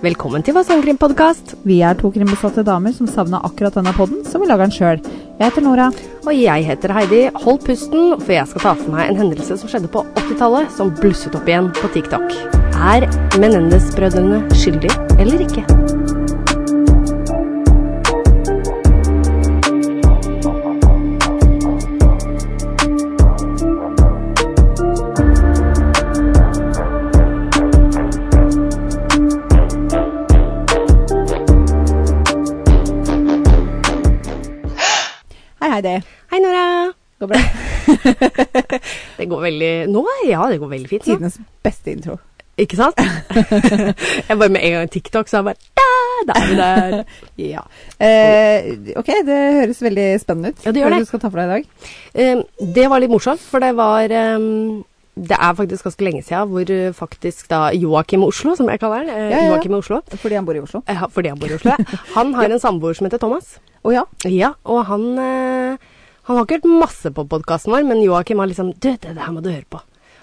Velkommen til Fasangrem-podkast. Vi er to krimbesatte damer som savna akkurat denne podden, så vi lager den sjøl. Jeg heter Nora. Og jeg heter Heidi. Hold pusten, for jeg skal ta for meg en hendelse som skjedde på 80-tallet, som blusset opp igjen på TikTok. Er Menendez-brødrene skyldige eller ikke? Hei, Heidi. Hei, Nora. Går bra. Det går veldig Nå? Ja, det går veldig fint. nå. Tidenes beste intro. Ikke sant? jeg bare med en gang TikTok, så er jeg bare da, da er vi der. Ja. Eh, ok, det høres veldig spennende ut. Ja, det gjør Hva er det. du skal ta for deg i dag? Eh, det var litt morsomt, for det var eh, Det er faktisk ganske lenge siden hvor eh, faktisk da Joakim Oslo, som jeg kaller han, eh, Ja, ja, ja. Joakim Oslo, Fordi han bor i Oslo. eh, ha- fordi han bor i Oslo, ja, han har en samboer som heter Thomas. Å ja. Ja, og han eh, Han har ikke hørt masse på podkasten vår, men Joakim har liksom Du, det, det her må du høre på.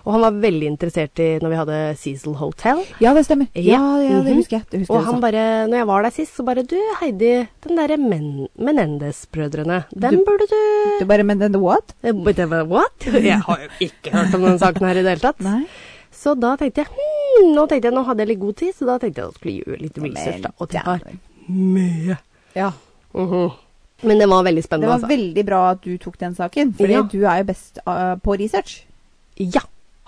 Og han var veldig interessert i når vi hadde Cecil Hotel. Ja, det stemmer. Ja. Ja, ja det Mhm. husker jeg. Det husker Og jeg han du sa. bare, når jeg var der sist, så bare Du, Heidi, den derre Men Menendez-brødrene, den Du- burde du Du bare Men then the what? Eh, but then What? Jeg har jo ikke hørt om den saken her i det hele tatt. Nei. Så da tenkte jeg hmm, Nå tenkte jeg, nå hadde jeg litt god tid, så da tenkte jeg at jeg skulle gjøre litt research, da. Og det var mye. Ja. Mhm. Men det var veldig Det spennende, var altså. veldig bra at du tok den saken, fordi Ja. du er jo best eh, på research. Ja.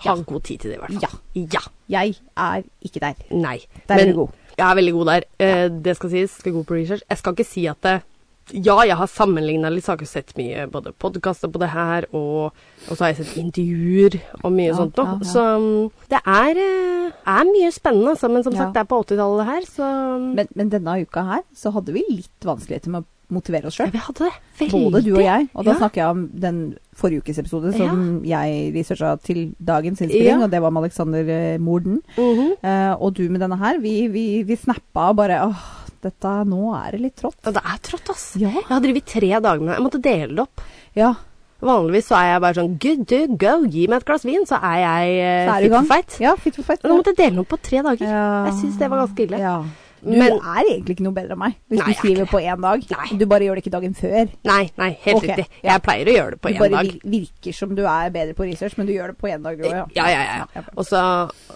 Ha god tid til det, i hvert fall. Ja. Jeg er ikke der. Nei. Der er du god. Jeg er veldig god der. Eh, det skal sies. Skal god på research. Jeg skal ikke si at det Ja, jeg har sammenligna litt, så har jeg ikke sett mye både podkaster på det her, og, og så har jeg sett intervjuer og mye Ja, sånt noe. ja, ja. Så mm, det er, eh, er mye spennende, altså. Men som Ja. sagt, det er på 80-tallet her, så mm. Men, men denne uka her så hadde vi litt vanskeligheter med å motivere oss sjøl. Ja, vi hadde det. Veldig. Både du og jeg. Og da Ja. snakker jeg om den forrige ukes episode som jeg researcha til dagens Ja. innspilling, og det var med Alexander eh, Morden. Mhm. Eh, og du med denne her, vi, vi, vi snappa og bare åh, dette nå er det litt trått. Ja, Det er trått, ass. Ja. Jeg har drevet tre dager med det. Jeg måtte dele det opp. Ja. Vanligvis så er jeg bare sånn good to go, gi meg et glass vin, så er jeg eh, Så er du i fit gang. for fight. Ja, fit for fight. Men Nå måtte jeg dele den opp på tre dager. Ja. Jeg syns det var ganske ille. Ja. Du Men- er egentlig ikke noe bedre enn meg, hvis Nei, jeg du er skriver ikke på én dag. Nei. Du bare gjør det ikke dagen før. Nei, nei, helt Ok, riktig. ja. Jeg pleier å gjøre det på Du én bare dag. Eh, vir- virker som du er bedre på research, men du gjør det på én dag, du òg, Ja, ja, ja. ja. Og, så,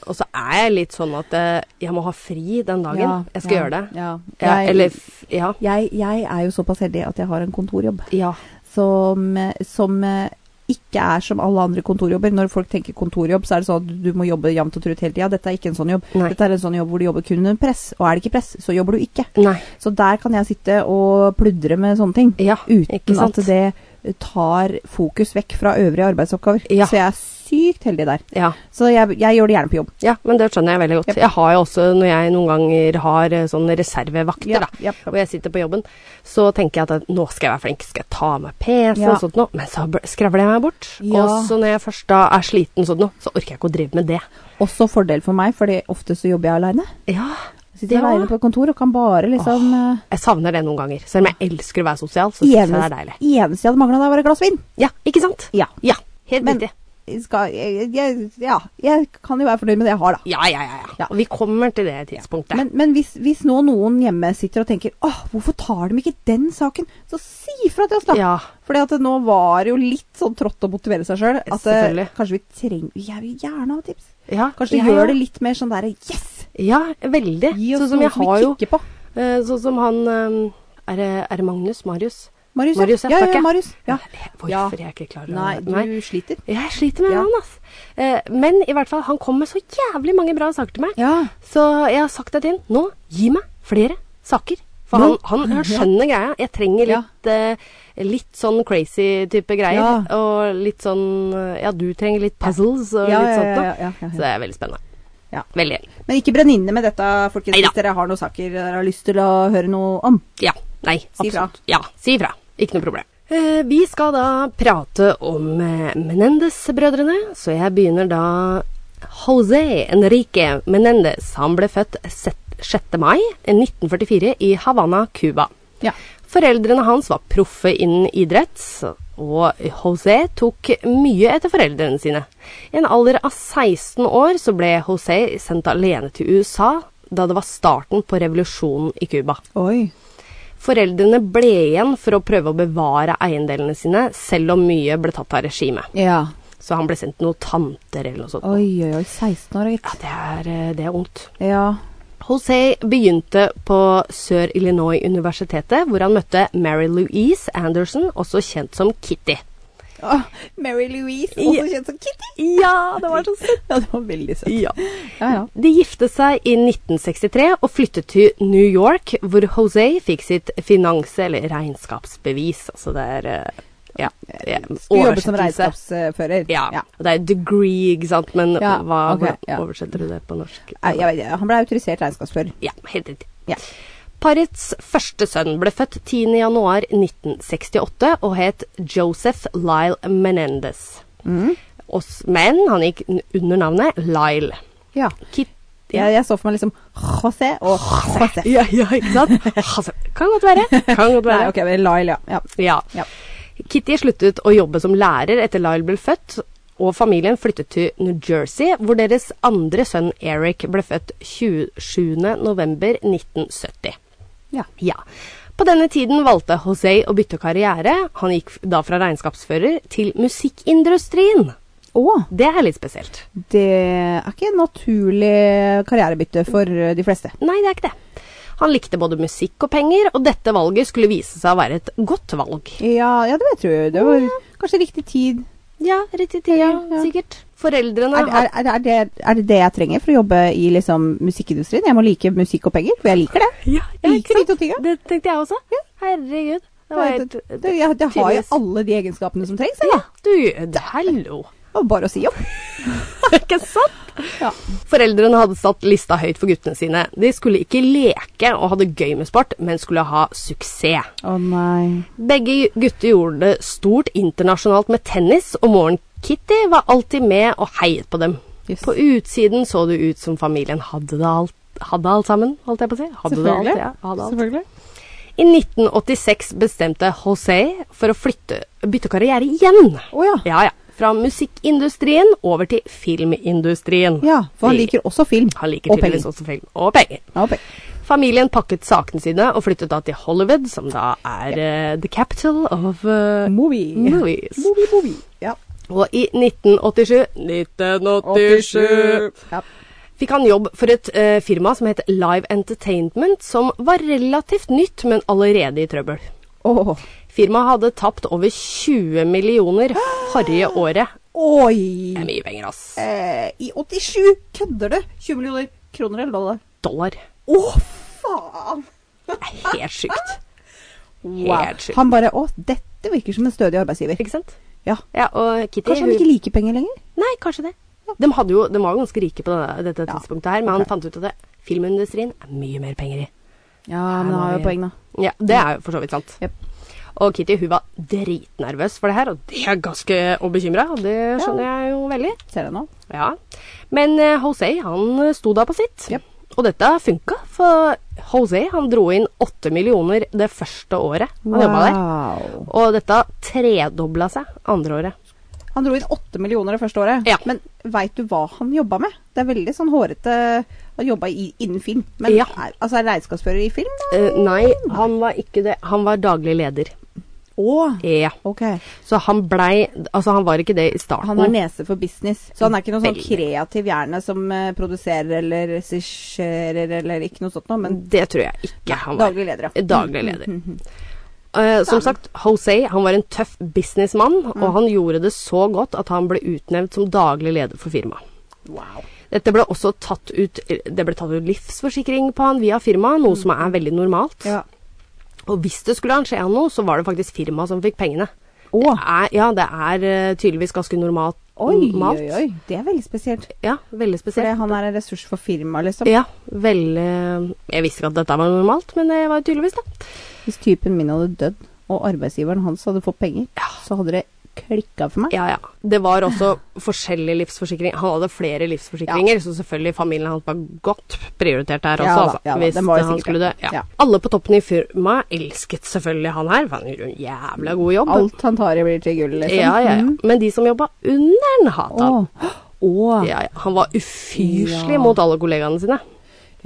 og så er jeg litt sånn at eh, jeg må ha fri den dagen. Ja, jeg skal ja, gjøre det. Ja. Ja, Jeg, eller f- ja. jeg, jeg er jo såpass heldig at jeg har en kontorjobb. ja. som, som eh, ikke er som alle andre kontorjobber. Når folk tenker kontorjobb, så er det sånn at du må jobbe jevnt og trutt hele tida. Dette er ikke en sånn jobb. Nei. Dette er en sånn jobb hvor du jobber kun under press, og er det ikke press, så jobber du ikke. Nei. Så der kan jeg sitte og pludre med sånne ting. Ja, ikke Uten sant? at det tar fokus vekk fra øvrige arbeidsoppgaver. Ja. Så jeg er sykt heldig der. Ja. Så jeg, jeg gjør det gjerne på jobb. ja, men det skjønner jeg veldig godt. Japp. Jeg har jo også, når jeg noen ganger har eh, sånne reservevakter, Ja, da, japp, japp. og jeg sitter på jobben, så tenker jeg at eh, nå skal jeg være flink, skal jeg ta med PC Ja. og sånt noe, men så bl- skravler jeg meg bort. Ja. Og så når jeg først da er sliten sånn noe, så orker jeg ikke å drive med det. Også fordel for meg, fordi ofte så jobber jeg aleine. Ja, Sitter Ja. aleine på kontor og kan bare liksom eh, Jeg savner det noen ganger. Selv om jeg elsker å være sosial, så syns jeg det er Eneste deilig. eneste jeg hadde mangla der, var et glass vin. Ja, ikke sant? Ja. Ja, helt Men- riktig. skal, jeg, jeg, ja, jeg kan jo være fornøyd med det jeg har, da. Ja, ja, ja, ja. Ja. Og vi kommer til det tidspunktet. Men, men hvis, hvis nå noen hjemme sitter og tenker åh, hvorfor tar de ikke den saken, så si ifra til oss, da. ja, Fordi at det nå var det jo litt sånn trått å motivere seg sjøl. At eh, Selvfølgelig. kanskje vi trenger Jeg vil gjerne ha tips. ja, Kanskje ja, vi gjør ja. det litt mer sånn derre yes! Ja, veldig. Gi oss Sånn som noe jeg som har vi jo kikker på. eh, Sånn som han eh, Er det, er det Magnus? Marius? Marius, Marius, ja, ja. Ja, takk, ja, ja. Marius. Ja. Eh, Hvorfor Ja. er jeg ikke klar over Nei, det? du sliter. Jeg sliter med Ja. han, ass. Eh, Men i hvert fall, han kom med så jævlig mange bra saker til meg. Ja. Så jeg har sagt det til ham. Nå, gi meg flere saker. For han, Nå? Mm, han, han skjønner greia. Jeg trenger Ja. litt, eh, litt sånn crazy type greier. Ja. Og litt sånn eh, Ja, du trenger litt puzzles og Ja, litt ja, sånt noe. ja, ja, ja, ja. Så det er veldig spennende. Ja. Veldig. Men ikke brenn inne med dette, folkens, Neida. hvis dere har noen saker dere har lyst til å høre noe om. Ja. Nei, Si fra. absolutt. Ja, si ifra. Ikke noe problem. Eh, vi skal da prate om eh, Menendez-brødrene, så jeg begynner da José Enrique Menendez. Han ble født set- 6. mai 1944 i Havana, Cuba. Ja. Foreldrene hans var proffe innen idrett, og José tok mye etter foreldrene sine. I en alder av 16 år så ble José sendt alene til USA da det var starten på revolusjonen i Cuba. Oi. Foreldrene ble igjen for å prøve å bevare eiendelene sine, selv om mye ble tatt av regimet. Ja. Så han ble sendt til noen tanter eller noe sånt. Oi, oi, oi. 16 år, Ja, gitt. det er, eh, det er ondt. Ja. José begynte på Sør-Illinois-universitetet, hvor han møtte Mary Louise Anderson, også kjent som Kitty. Åh, Ah, Mary Louise, Ja. også kjent som Kitty. Ja, det var så søtt! Ja, det var veldig søtt. Ja. Ja, ja. De gifte seg i 1963 og flyttet til New York, hvor José fikk sitt finanse- eller regnskapsbevis. Altså det er eh, ja, eh, Skulle jobbe som oversettelse. regnskapsfører. Ja. Og det er degree, ikke sant, men Ja, hva, ok, hvordan ja. oversetter du det på norsk? Nei, Jeg vet, ikke, han ble autorisert regnskapsfører. Ja, helt riktig. Ja. Parets første sønn ble født 10. januar 1968 og het Joseph Lyle Menendez. Mm. Og s- Men han gikk n- under navnet Lyle. Ja. Kit Jeg, jeg så for meg liksom José og José. ja, ja, ikke sant? Altså, kan godt være. Kan godt Nei, være. ok, men Lyle, ja. ja. Ja. Ja. Kitty sluttet å jobbe som lærer etter Lyle ble født, og familien flyttet til New Jersey, hvor deres andre sønn Eric ble født 27.11.1970. Ja. Ja. På denne tiden valgte José å bytte karriere. Han gikk da fra regnskapsfører til musikkindustrien. Å, Det er litt spesielt. det er ikke en naturlig karrierebytte for eh, de fleste. Nei, det er ikke det. Han likte både musikk og penger, og dette valget skulle vise seg å være et godt valg. Ja, ja det vet du. Det var kanskje riktig tid. Ja, riktig tid, Ja, ja. sikkert. Foreldrene Er, er, er, er, det, er det det jeg trenger for å jobbe i liksom, musikkindustrien? Jeg må like musikk og penger, for jeg liker det. Ja, Jeg ikke liker de sant? to tinga. Det tenkte jeg også. Herregud. Det var helt Det, det, jeg, jeg har jo tydeligvis. alle de egenskapene som trengs. jeg, Ja, da. du det- Hallo. Det var bare å si opp. Ikke sant? Ja. Foreldrene hadde satt lista høyt for guttene sine. De skulle ikke leke og ha det gøy med sport, men skulle ha suksess. Å nei. Begge gutter gjorde det stort internasjonalt med tennis, og moren Kitty var alltid med og heiet på dem. Yes. På utsiden så det ut som familien hadde det alt, hadde alt sammen, holdt jeg på å si. Hadde det alt, Selvfølgelig. ja. Hadde alt. Selvfølgelig. I 1986 bestemte José for å flytte, bytte karriere igjen. Å ja. Ja, ja. Fra musikkindustrien over til filmindustrien. Ja, for han liker også film. Han liker og penger. tydeligvis også film. Og penger. Ja, og penger. Familien pakket sakene sine og flyttet da til Hollywood, som da er eh, the capital of eh, Movie. movies. Movie, movie. Ja. Og i 1987 1987 Ja. fikk han jobb for et eh, firma som het Live Entertainment, som var relativt nytt, men allerede i trøbbel. Åh. Firmaet hadde tapt over 20 millioner forrige året. Oi! Det er mye penger, ass. Eh, I 87 kødder du! 20 millioner kroner eller dollar? Dollar. Å, faen! Det er helt sykt. Helt sykt. Han bare Å, dette virker som en stødig arbeidsgiver. Ikke sant? Ja. Ja, og Kitty Kanskje han hun- ikke liker penger lenger? Nei, kanskje det. De, hadde jo, de var jo ganske rike på denne- dette Ja, tidspunktet her, men han ok. fant ut at det, filmindustrien er mye mer penger i. Ja, men han har jo poeng, Ja, Det er jo for så vidt sant. Jep. Og Kitty hun var dritnervøs for det her, og det er ganske og bekymra. Og det skjønner jeg jo veldig. Ser jeg nå. Ja. Men eh, José han eh, sto da på sitt. Jep. Og dette funka, for José han dro inn åtte millioner det første året han jobba der. Wow. Og dette tredobla seg andre året. Han dro inn åtte millioner det første året. Ja. Men veit du hva han jobba med? Det er veldig sånn hårete Han jobba i- innen film. Men Ja. er, altså, er regnskapsfører i film, da? Eh, nei, han var ikke det. Han var daglig leder. Å, Ja. ok. Så han blei Altså, han var ikke det i starten. Han har nese for business. Så han er ikke noen sånn Veldig. kreativ hjerne som eh, produserer eller regisserer eller ikke noe sånt noe, men Det tror jeg ikke han var. daglig leder, ja. Mm, Daglig leder. Eh, som sagt, José han var en tøff businessmann, Mm. og han gjorde det så godt at han ble utnevnt som daglig leder for firmaet. Wow. Dette ble også tatt ut Det ble tatt ut livsforsikring på han via firmaet, noe som er veldig normalt. Ja. Og hvis det skulle skje han noe, så var det faktisk firmaet som fikk pengene. Å. Det er, ja, det er eh, tydeligvis ganske normalt. Oi, normalt. oi, oi. Det er veldig spesielt. Ja, veldig Fordi spesielt. han er en ressurs for firmaet, liksom. Ja, veldig eh, Jeg visste ikke at dette var normalt, men det var tydeligvis det. Hvis typen min hadde dødd, og arbeidsgiveren hans hadde fått penger, så hadde det klikka for meg. Ja, ja. Det var også forskjellig livsforsikring. Han hadde flere livsforsikringer, så selvfølgelig familien hans var godt prioritert der også, Ja da, altså. ja da, hvis den var jo han sikkert skulle dø. det. Ja. Ja. Alle på toppen i firmaet elsket selvfølgelig han her, for han gjorde en jævla god jobb. Alt han tar i, blir til gull, liksom. Ja, ja, ja. Mm. Men de som jobba under han, hata han. Å. Å. Ja, ja. Han var ufyselig Ja. mot alle kollegaene sine. Ja.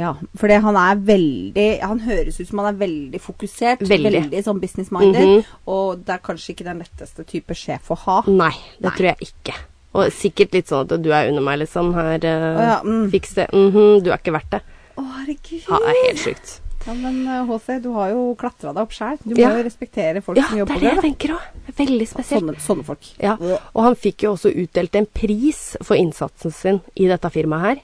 Ja, for det- han er veldig Han høres ut som han er veldig fokusert. Veldig. Veldig, sånn business-minded. Mhm. Mm. Og det er kanskje ikke den letteste type sjef å ha. Nei, det Nei. tror jeg ikke. Og sikkert litt sånn at du er under meg, litt sånn her eh, Å ja, mm. Fiks det. Mhm, du er ikke verdt det. Å, herregud. Ja, det er helt sjukt. Ja, men eh, HC, du har jo klatra deg opp sjæl. Du må Ja. jo respektere folk Ja, som det er det jobber jeg der. da. tenker òg. Veldig spesielt. Sånne, sånne folk. Ja, og han fikk jo også utdelt en pris for innsatsen sin i dette firmaet her.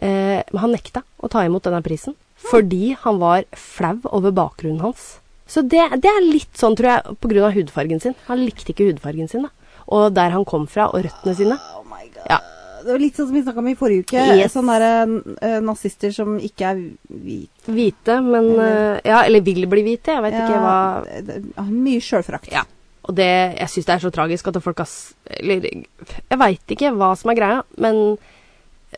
Eh, men han nekta å ta imot denne prisen fordi han var flau over bakgrunnen hans. Så det, det er litt sånn, tror jeg, pga. hudfargen sin. Han likte ikke hudfargen sin, da. Og der han kom fra, og røttene sine. Oh my god. Ja. Det var litt sånn som vi snakka om i forrige uke. Yes. Sånne der, eh, nazister som ikke er hvite. Hvite, men eh, Ja, eller vil bli hvite. Jeg vet ikke hva Mye sjølfrakt. Ja. Og det, jeg syns det er så tragisk at folk har s- Eller jeg veit ikke hva som er greia, men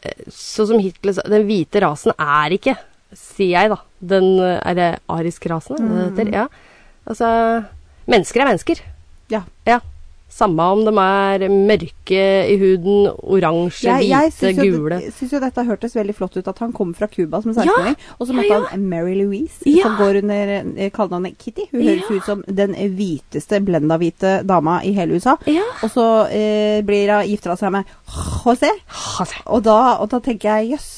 eh, sånn som Hitler sa Den hvite rasen er ikke, sier jeg, da. Den eh, Er det arisk rasen, er det Mm. det heter? Ja. Altså Mennesker er mennesker. Ja. Ja. Samme om de er mørke i huden, oransje, Jeg, jeg hvite, syns jo, gule. jeg syns jo dette hørtes veldig flott ut, at han kom fra Cuba som Ja, 16-åring. og så ja, møtte ja. han Mary Louise, Ja. som går under eh, kallenavnet Kitty. Hun høres Ja. ut som den hviteste blenda-hvite dama i hele USA. Ja. Og så eh, blir hun gifta seg med José, Altså, og da, og da tenker jeg jøss.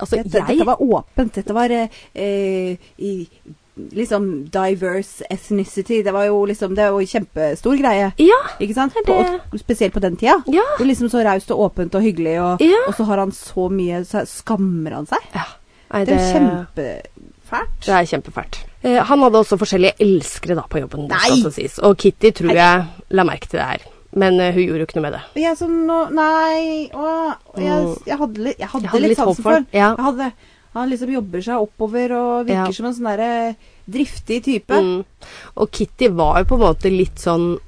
altså, dette, jeg dette var åpent. Dette var eh, eh, i, liksom diverse ethnicity. Det var jo liksom Det var jo kjempestor greie. Ja. Ikke sant? det- På, og spesielt på den tida. Ja. Det var liksom så raust og åpent og hyggelig, og, Ja. og så har han så mye Så skammer han seg. ja. Nei, Det er jo det- kjempefælt. Det er kjempefælt. Eh, han hadde også forskjellige elskere da på jobben. Det skal Nei! også sies. Og Kitty tror jeg la merke til det her. Men eh, hun gjorde jo ikke noe med det. Og jeg som nå Nei å, og jeg, jeg hadde litt, jeg hadde Jeg hadde litt litt håp sansen for for den, ja. Jeg hadde, Han liksom jobber seg oppover og virker Ja. som en sånn derre driftig type. Mm. Og Kitty var jo på en måte litt sånn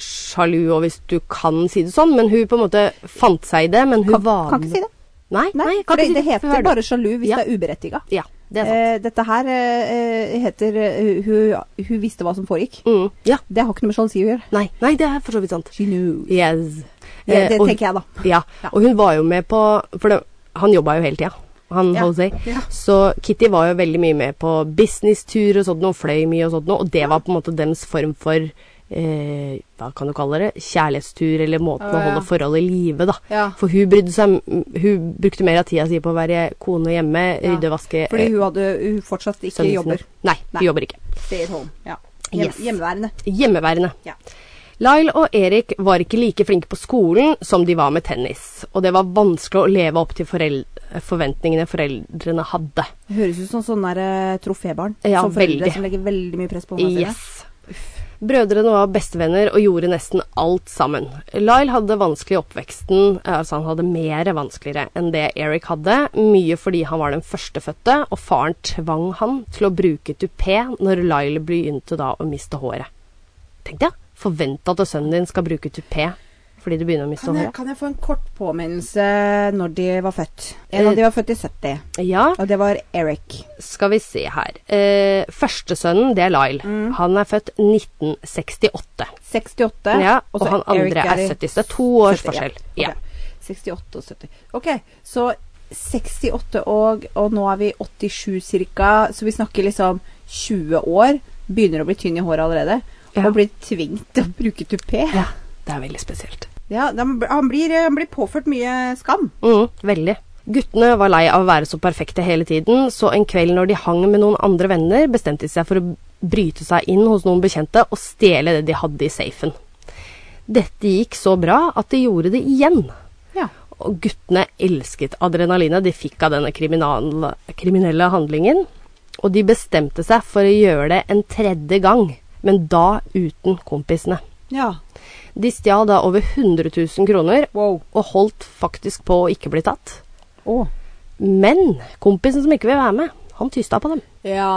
sjalu, og hvis du kan si det sånn, men hun på en måte fant seg i det. Men hun Kan, var kan ikke si det. Nei, nei, Nei, kan for det, ikke si det for hva er heter det? bare sjalu hvis Ja. det er uberettiga. Ja, det er sant. Eh, dette her eh, eh, heter eh, hun, hun visste hva som foregikk. Mm. Ja. Det har ikke noe med sjalusi å gjøre. Nei, nei, det er for så vidt sant. She knew. Yes. Det, Eh, det og- tenker jeg, da. Ja, Ja. og hun var jo med på For det, han jobba jo hele tida, han Ja. Jose. Ja. Så Kitty var jo veldig mye med på businesstur og sånt, og fløy mye og sånt, og det var på en måte dems form for eh, Hva kan du kalle det? Kjærlighetstur, eller måten Å, å ja. holde forholdet i live, da. Ja. For hun brydde seg Hun brukte mer av tida si på å være kone hjemme, rydde, vaske Fordi eh, hun, hadde, hun fortsatt ikke sønnen sin. jobber. Nei, Nei. hun jobber ikke. Stay at home. Ja. Hjem, Yes. Hjemmeværende. Hjemmeværende. Ja. Lyle og Erik var ikke like flinke på skolen som de var med tennis, og det var vanskelig å leve opp til forel forventningene foreldrene hadde. Det høres ut som sånne der, eh, trofébarn. Ja, som foreldre veldig. som legger veldig mye press på barna sine. Yes. Brødrene var bestevenner og gjorde nesten alt sammen. Lyle hadde vanskelig i oppveksten, altså han hadde mer vanskeligere enn det Eric hadde, mye fordi han var den førstefødte, og faren tvang han til å bruke tupé når Lyle begynte da å miste håret. Tenk deg, forvente at sønnen din skal bruke tupé fordi du begynner å miste Kan jeg, håret. kan jeg få en kort påminnelse når de var født? En Eh. av de var født i 70, Ja, og det var Eric. skal vi se her. Eh, førstesønnen, det er Lyle. Han er født 1968. 68. Ja, og så han andre Eric er i 70, så det er to års 70, ja. forskjell. Ok. Ja. 68 og 70. Ok, så 68 og, og nå er vi 87 ca., så vi snakker liksom 20 år. Begynner å bli tynn i håret allerede. Ja. Og blir tvunget til å bruke tupé. Ja, det er veldig spesielt. Ja, da- han, blir, han blir påført mye skam. Mm, veldig. Guttene var lei av å være så perfekte hele tiden, så en kveld når de hang med noen andre venner, bestemte de seg for å bryte seg inn hos noen bekjente og stjele det de hadde i safen. Dette gikk så bra at de gjorde det igjen. Ja. Og guttene elsket adrenalinet de fikk av denne kriminal- kriminelle handlingen. Og de bestemte seg for å gjøre det en tredje gang, men da uten kompisene. ja. De stjal da over 100 000 kroner, Wow. og holdt faktisk på å ikke bli tatt. Å. Men kompisen som ikke vil være med, han tysta på dem. Ja.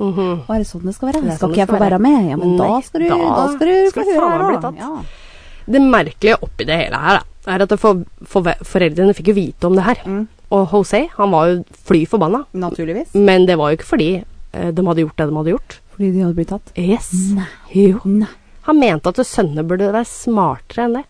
Mhm. Hva er det sånn det skal være? Det er sånn det skal ikke jeg skal få være. være med? Ja, men da Nei, skal du, da da skal du skal få du høre faen her, meg da. bli tatt. Ja. Det merkelige oppi det hele her, da, er at det for, for, foreldrene fikk jo vite om det her. Og Jose, han var jo fly forbanna. Naturligvis. Men det var jo ikke fordi eh, de hadde gjort det de hadde gjort. Fordi de hadde blitt tatt. Yes. Nei. Jo. Nei. Han mente at sønnene burde være smartere enn det.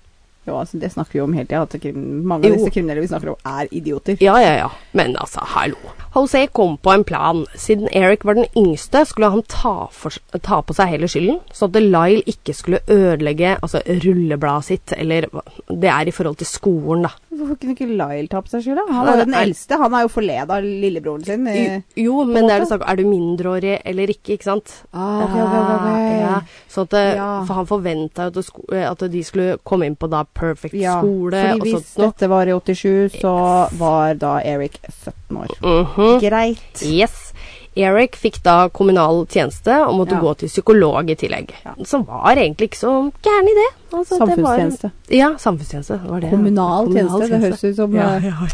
Jo, altså, det snakker vi om hele tida. at krim- Mange av Jo. disse kriminelle vi snakker om, er idioter. Ja, ja, ja. Men altså, hallo. José kom på en plan. Siden Eric var den yngste, skulle han ta, for, ta på seg hele skylden, sånn at Lyle ikke skulle ødelegge altså, rullebladet sitt, eller hva- Det er i forhold til skolen, da. Hvorfor kunne ikke Lyle ta på seg skylda? Han er jo den Nei. eldste. Han er jo forleda av lillebroren sin. eh. Jo, jo, men det er det snakk om. Er du mindreårig eller ikke, ikke sant? Ah, ok, ok, ok, ok. Ja, sånn at eh, Ja. For han forventa jo at, det sko- eh, at de skulle komme inn på da perfect Ja, skole fordi og hvis sånt noe. dette var i 87, så var da Eric 17 år. Mhm. Greit. Yes. Eric fikk da kommunal tjeneste og måtte Ja. gå til psykolog i tillegg. Ja. Som var egentlig ikke så gæren idé. Altså, det var- Samfunnstjeneste. Ja, samfunnstjeneste. det Var det. Kommunal tjeneste. Det høres ut som ja, eh, ja.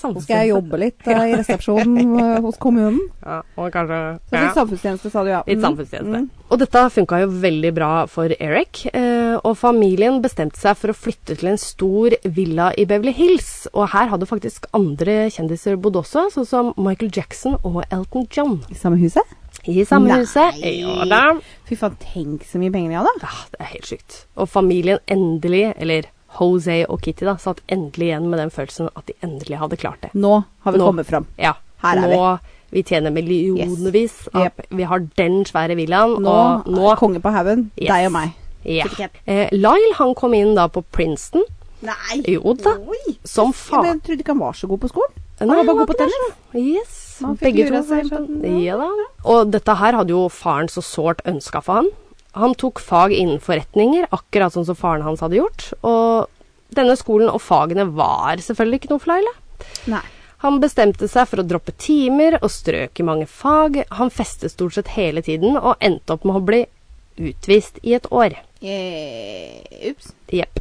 Nå skal jeg jobbe litt eh, i resepsjonen eh, hos kommunen. Ja, og kanskje Så fikk samfunnstjeneste, sa du ja. Litt Mm, samfunnstjeneste. mm. Og dette funka jo veldig bra for Eric, eh, og familien bestemte seg for å flytte til en stor villa i Beverly Hills. Og her hadde faktisk andre kjendiser bodd også, sånn som Michael Jackson og Elton John. I samme huset? I samme Nei. huset. Ja da. Fy faen, tenk så mye penger de hadde. Ja, Ah, det er helt sykt. Og familien endelig, eller Jose og Kitty da, satt endelig igjen med den følelsen at de endelig hadde klart det. Nå har vi Nå. kommet fram. Ja, Her er nå vi tjener millionvis. Yes. av- Vi har den svære villaen, Nå, og nå konge på haugen. Yes. Deg og meg. Ja. Tipp, tipp. Eh, Lyle han kom inn da på Princeton Nei! Jo da. Oi. som Ja, faen men Jeg trodde ikke han var så god på skolen. Nei, han var bare han god på var tennis. Yes, Man fikk begge lura to. seg kjempe- sånn, Ja da. Og dette her hadde jo faren så sårt ønska for han. Han tok fag innen forretninger, akkurat sånn som faren hans hadde gjort. Og denne skolen og fagene var selvfølgelig ikke noe for Laila. Nei. Han bestemte seg for å droppe timer og strøk i mange fag. Han festet stort sett hele tiden og endte opp med å bli utvist i et år. Eh, ups. Jepp.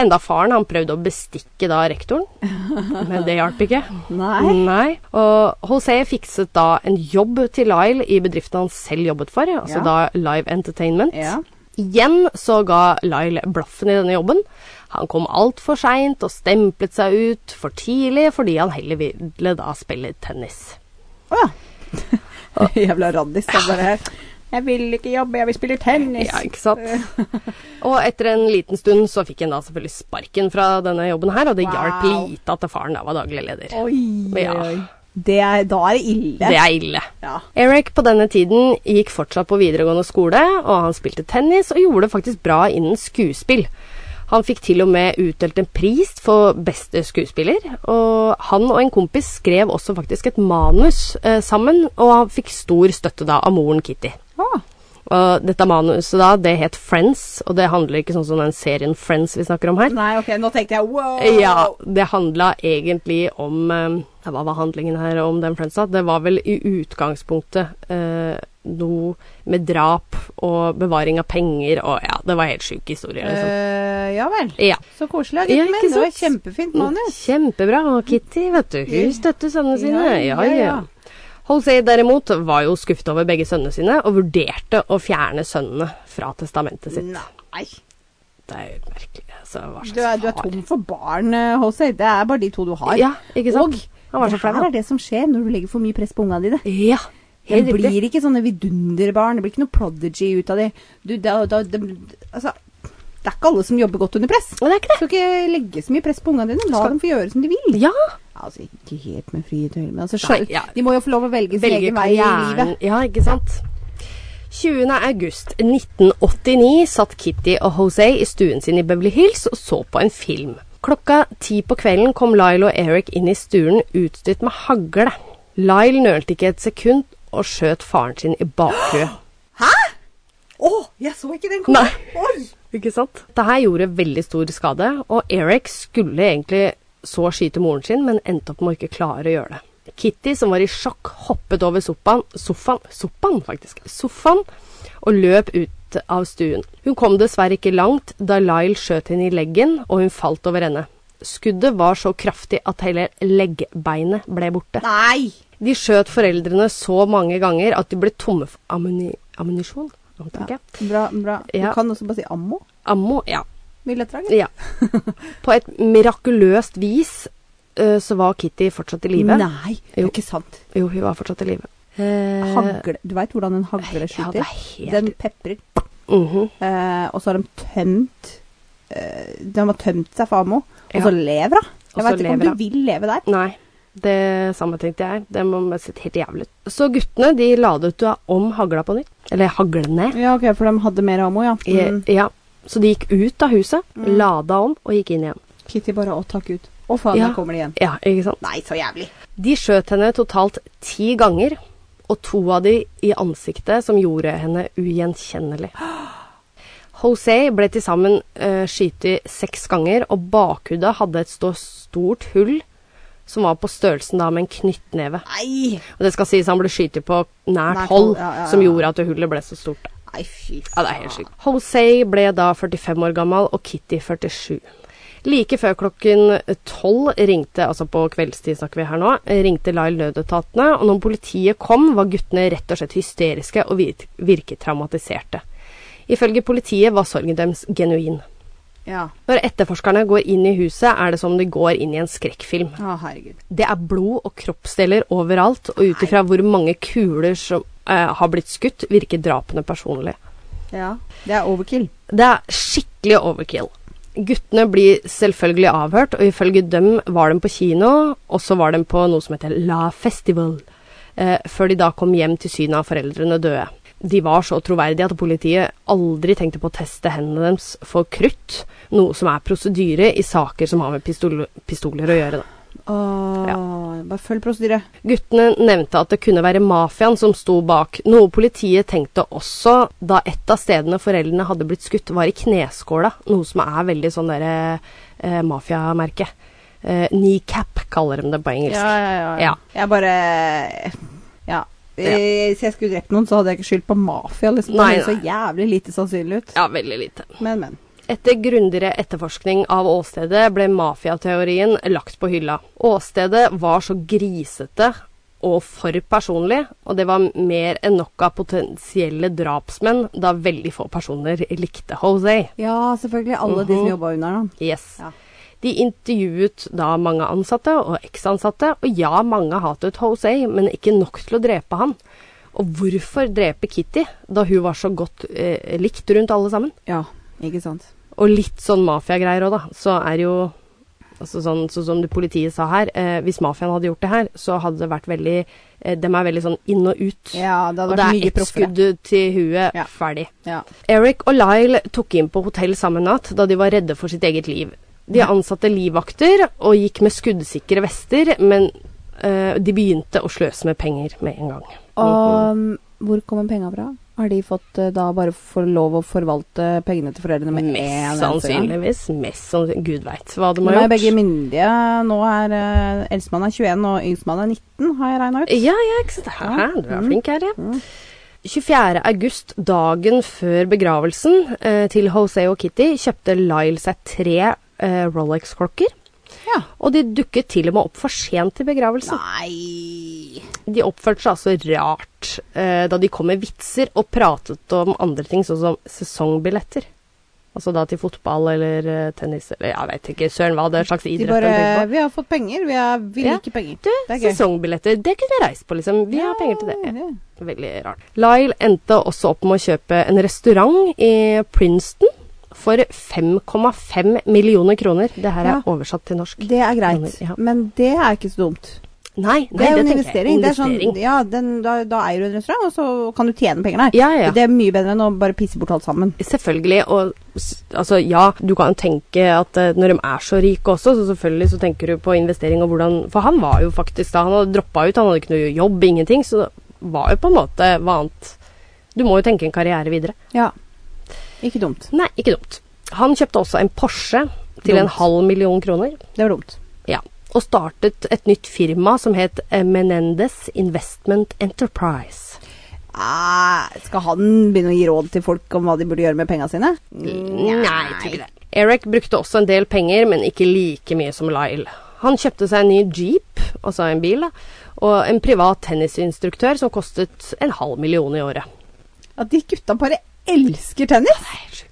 Enda faren han prøvde å bestikke da rektoren, men det hjalp ikke. Nei. Og José fikset da en jobb til Lyle i bedriften han selv jobbet for, altså Ja. da Live Entertainment. Ja. Igjen så ga Lyle blaffen i denne jobben. Han kom altfor seint og stemplet seg ut for tidlig fordi han heller ville da spille tennis. Å Ah. ja. Jævla raddis. Han bare Jeg vil ikke jobbe, jeg vil spille tennis. Ja, ikke sant? Og etter en liten stund så fikk han da selvfølgelig sparken fra denne jobben her, og det Wow. hjalp lite at faren da var daglig leder. Oi, Ja. oi. Det er, da er det ille. Det er ille. Ja. Eric på denne tiden gikk fortsatt på videregående skole, og han spilte tennis og gjorde det faktisk bra innen skuespill. Han fikk til og med utdelt en pris for beste skuespiller, og han og en kompis skrev også faktisk et manus eh, sammen, og han fikk stor støtte da av moren Kitty. Ah, Og dette manuset da, det het Friends, og det handler ikke sånn som den serien Friends vi snakker om her. nei, ok, nå tenkte jeg wow. Ja, det handla egentlig om eh, ja, Hva var handlingen her om den Friendsa? Det var vel i utgangspunktet eh, noe med drap og bevaring av penger og ja, det var helt sjuk historie, liksom. Eh, ja vel. Ja. Så koselig. Ja, Ja, ikke men det var et sant? kjempefint manus. Kjempebra. Og Kitty, vet du, hun støtter sønnene sine. Ja, ja. ja. Holsey derimot var jo skuffet over begge sønnene sine og vurderte å fjerne sønnene fra testamentet sitt. Nei. Det er jo merkelig. Altså, hva slags Du er, du er far? tom for barn, eh, Jose. Det er bare de to du har. Ja, ikke sant? Og Han var så det flau, her han. er det som skjer når du legger for mye press på ungene dine. Ja, Det helt riktig. blir ikke sånne vidunderbarn. Det blir ikke noe prodigy ut av de. Du, da, da, dem- altså, det er ikke alle som jobber godt under press. Men det er ikke det. Du skal ikke legge så mye press på ungene dine. La Skal- dem få gjøre som de vil. Ja, Altså, ikke helt med frie tøyler, men altså, Nei, skjø- ja. de må jo få lov å velge sin velge egen vei i karrieren. livet. Ja, ikke sant? 20. august 1989 satt Kitty og Jose i stuen sin i Beverly Hills og så på en film. Klokka ti på kvelden kom Lyle og Eric inn i stuen utstyrt med hagle. Lyle nølte ikke et sekund og skjøt faren sin i bakhuet. Å, jeg så ikke den Nei. Oi! Ikke sant? Dette gjorde veldig stor skade, og Eric skulle egentlig så skyte moren sin, men endte opp med å ikke klare å gjøre det. Kitty, som var i sjokk, hoppet over sofaen, sofaen, sofaen faktisk, sofaen, og løp ut av stuen. Hun kom dessverre ikke langt da Lyle skjøt henne i leggen, og hun falt over ende. Skuddet var så kraftig at hele leggbeinet ble borte. Nei! De skjøt foreldrene så mange ganger at de ble tomme for ammuni- ammunisjon. antar jeg. Bra, bra. Ja. Du kan også bare si ammo. Ammo, ja. Mye lettere. eller? Ja. På et mirakuløst vis eh, så var Kitty fortsatt i live. Nei, det er Jo. ikke sant. Jo, hun var fortsatt i live. Eh, Hagle, du veit hvordan en hagle ja, skyter? det er helt- Den peprer, mhm. eh, og så har de tømt eh, De har tømt seg for ammo, og Ja. så lever hun. Og Jeg så vet ikke om lever du hun. vil leve der. Nei. Det samme tenkte jeg. Det må ha sett helt jævlig ut. Så guttene de ladet jo om hagla på nytt. Eller haglene. Ja, ok, for de hadde mer ammo, ja. I- Mm. Ja. Så de gikk ut av huset, lada om og gikk inn igjen. Kitty bare å takk ut. Å faen, Ja. der kommer de igjen. Ja, ikke sant? Nei, så jævlig. De skjøt henne totalt ti ganger, og to av de i ansiktet, som gjorde henne ugjenkjennelig. Jose ble til sammen uh, skytet seks ganger, og bakhudet hadde et stå- stort hull som var på størrelsen da med en knyttneve. Nei! Og det skal sies han ble skytet på nært Nært hold, hold, ja, ja, ja. som gjorde at hullet ble så stort. Nei, fy faen. Ja, det er helt sykt. Jose ble da 45 år gammel og Kitty 47. Like før klokken 12 ringte, altså på kveldstid snakker vi her nå, ringte Lyle nødetatene, og når politiet kom, var guttene rett og slett hysteriske og vir- virket traumatiserte. Ifølge politiet var sorgen deres genuin. Ja. Når etterforskerne går inn i huset, er det som om de går inn i en skrekkfilm. Å, herregud. Det er blod og kroppsdeler overalt, og ut ifra hvor mange kuler som eh, har blitt skutt, virker drapene personlig. Ja. Det er overkill. Det er skikkelig overkill. Guttene blir selvfølgelig avhørt, og ifølge dem var de på kino, og så var de på noe som heter La Festival, eh, før de da kom hjem til synet av foreldrene døde. De var så troverdige at politiet aldri tenkte på å teste hendene deres for krutt, noe som er prosedyre i saker som har med pistol pistoler å gjøre. Da. Åh, Bare følg prosedyre. Guttene nevnte at det kunne være mafiaen som sto bak, noe politiet tenkte også da et av stedene foreldrene hadde blitt skutt, var i kneskåla, noe som er veldig sånn derre eh, mafiamerke. Eh, kneecap kaller de det på engelsk. ja, Ja. Jeg bare Ja. Eh, Hvis jeg skulle drept noen, så hadde jeg ikke skyldt på mafia. Liksom. Nei, det høres så jævlig lite sannsynlig ut. ja veldig lite. Men, men. Etter grundigere etterforskning av åstedet ble mafiateorien lagt på hylla. Åstedet var så grisete og for personlig, og det var mer enn nok av potensielle drapsmenn, da veldig få personer likte Jose. Ja, selvfølgelig. Alle de som Mhm. jobba under ham. Yes. Ja. De intervjuet da mange ansatte og eksansatte, og ja, mange hatet Jose, men ikke nok til å drepe han. Og hvorfor drepe Kitty, da hun var så godt eh, likt rundt alle sammen? Ja, ikke sant. Og litt sånn mafiagreier òg, da. Så er jo altså sånn, sånn som det politiet sa her, eh, hvis mafiaen hadde gjort det her, så hadde det vært veldig eh, De er veldig sånn inn og ut. Ja, det og hadde det vært er mye ett proffere. skudd til huet, Ja. ferdig. Ja. Eric og Lyle tok inn på hotell samme natt da de var redde for sitt eget liv. De ansatte livvakter og gikk med skuddsikre vester, men eh, de begynte å sløse med penger med en gang. Og mm, hvor kommer penga fra? Har de fått eh, da bare for lov å forvalte pengene til foreldrene med en Mest eneste gang? sannsynligvis. Mest sannsynlig. Gud veit hva de Nå har er gjort. begge myndige. Nå er eh, Eldstemann er 21, og yngstemann er 19, har jeg regna ut. Ja, ja, ikke sant. Hæ, du er flink her, ja. Mm. 24. august, dagen før begravelsen eh, til Jose og Kitty, kjøpte Lyle seg tre eh, Rolex-klokker. Ja. Og de dukket til og med opp for sent til begravelsen. Nei De oppførte seg altså rart eh, da de kom med vitser og pratet om andre ting, sånn som sesongbilletter. Altså da til fotball eller eh, tennis eller jeg veit ikke, søren hva det er slags De idrett de bare tenker på. Vi har fått penger. Vi, er, vi Ja. liker penger. Du, det er gøy. sesongbilletter, det kunne jeg reist på, liksom. Vi har Ja, penger til det. det. Veldig rart. Lyle endte også opp med å kjøpe en restaurant i Princeton for 5,5 millioner kroner. Det her er Ja. oversatt til norsk. Det er greit, Ja. men det er ikke så dumt. Nei, nei, Det er jo en tenker jeg. investering. Det er sånn, Investering. ja, den, da, da eier du en restaurant, og så kan du tjene penger der. Ja, ja. Det er mye bedre enn å bare pisse bort alt sammen. Selvfølgelig, og s- altså, ja, du kan jo tenke at eh, når de er så rike også, så selvfølgelig så tenker du på investering og hvordan For han var jo faktisk da, han hadde droppa ut, han hadde ikke noe jobb, ingenting, så det var jo på en måte hva annet Du må jo tenke en karriere videre. Ja. Ikke dumt. Nei, ikke dumt. Han kjøpte også en Porsche til Dumt. en halv million kroner. Det var dumt. Ja. Og startet et nytt firma som het eh, Menendez Investment Enterprise. Ah, skal han begynne å gi råd til folk om hva de burde gjøre med penga sine? Nei, tror ikke det. Eric brukte også en del penger, men ikke like mye som Lyle. Han kjøpte seg en ny jeep, altså en bil, da, og en privat tennisinstruktør som kostet en halv million i året. At de gutta bare elsker tennis!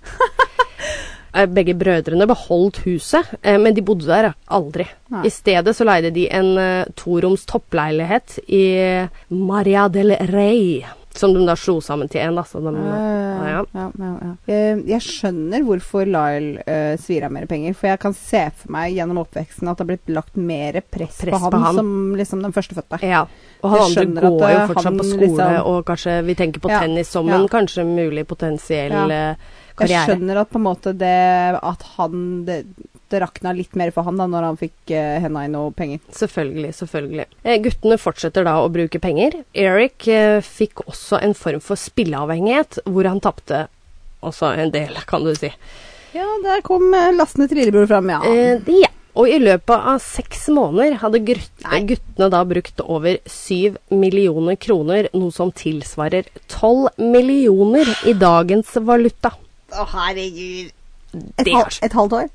Eh, Begge brødrene beholdt huset, eh, men de bodde der aldri. Nei. I stedet så leide de en eh, toroms toppleilighet i Maria del Rey. Som de da slo sammen til én, da. Så de, Ja, ja. ja, ja, ja, ja. Eh, Jeg skjønner hvorfor Lyle eh, svir av mer penger, for jeg kan se for meg gjennom oppveksten at det har blitt lagt mer press, Press på, han på han. som liksom den førstefødte. Ja. Og han Jeg skjønner andre at, går jo eh, fortsatt han på skole, liksom- og kanskje vi tenker på Ja, tennis som ja. en kanskje mulig potensiell Ja. eh, Jeg karriere. skjønner at på en måte det at han det, det rakna litt mer for han da når han fikk eh, henda i noe penger. Selvfølgelig, selvfølgelig. Eh, guttene fortsetter da å bruke penger. Eric eh, fikk også en form for spilleavhengighet, hvor han tapte også en del, kan du si. Ja, der kom eh, lastende trillebror fram, ja. Eh, de- ja. Og i løpet av seks måneder hadde grut- Nei. guttene da brukt over syv millioner kroner, noe som tilsvarer tolv millioner i dagens valuta. Å, herregud. Et, Det hal er sjukt. et halvt år?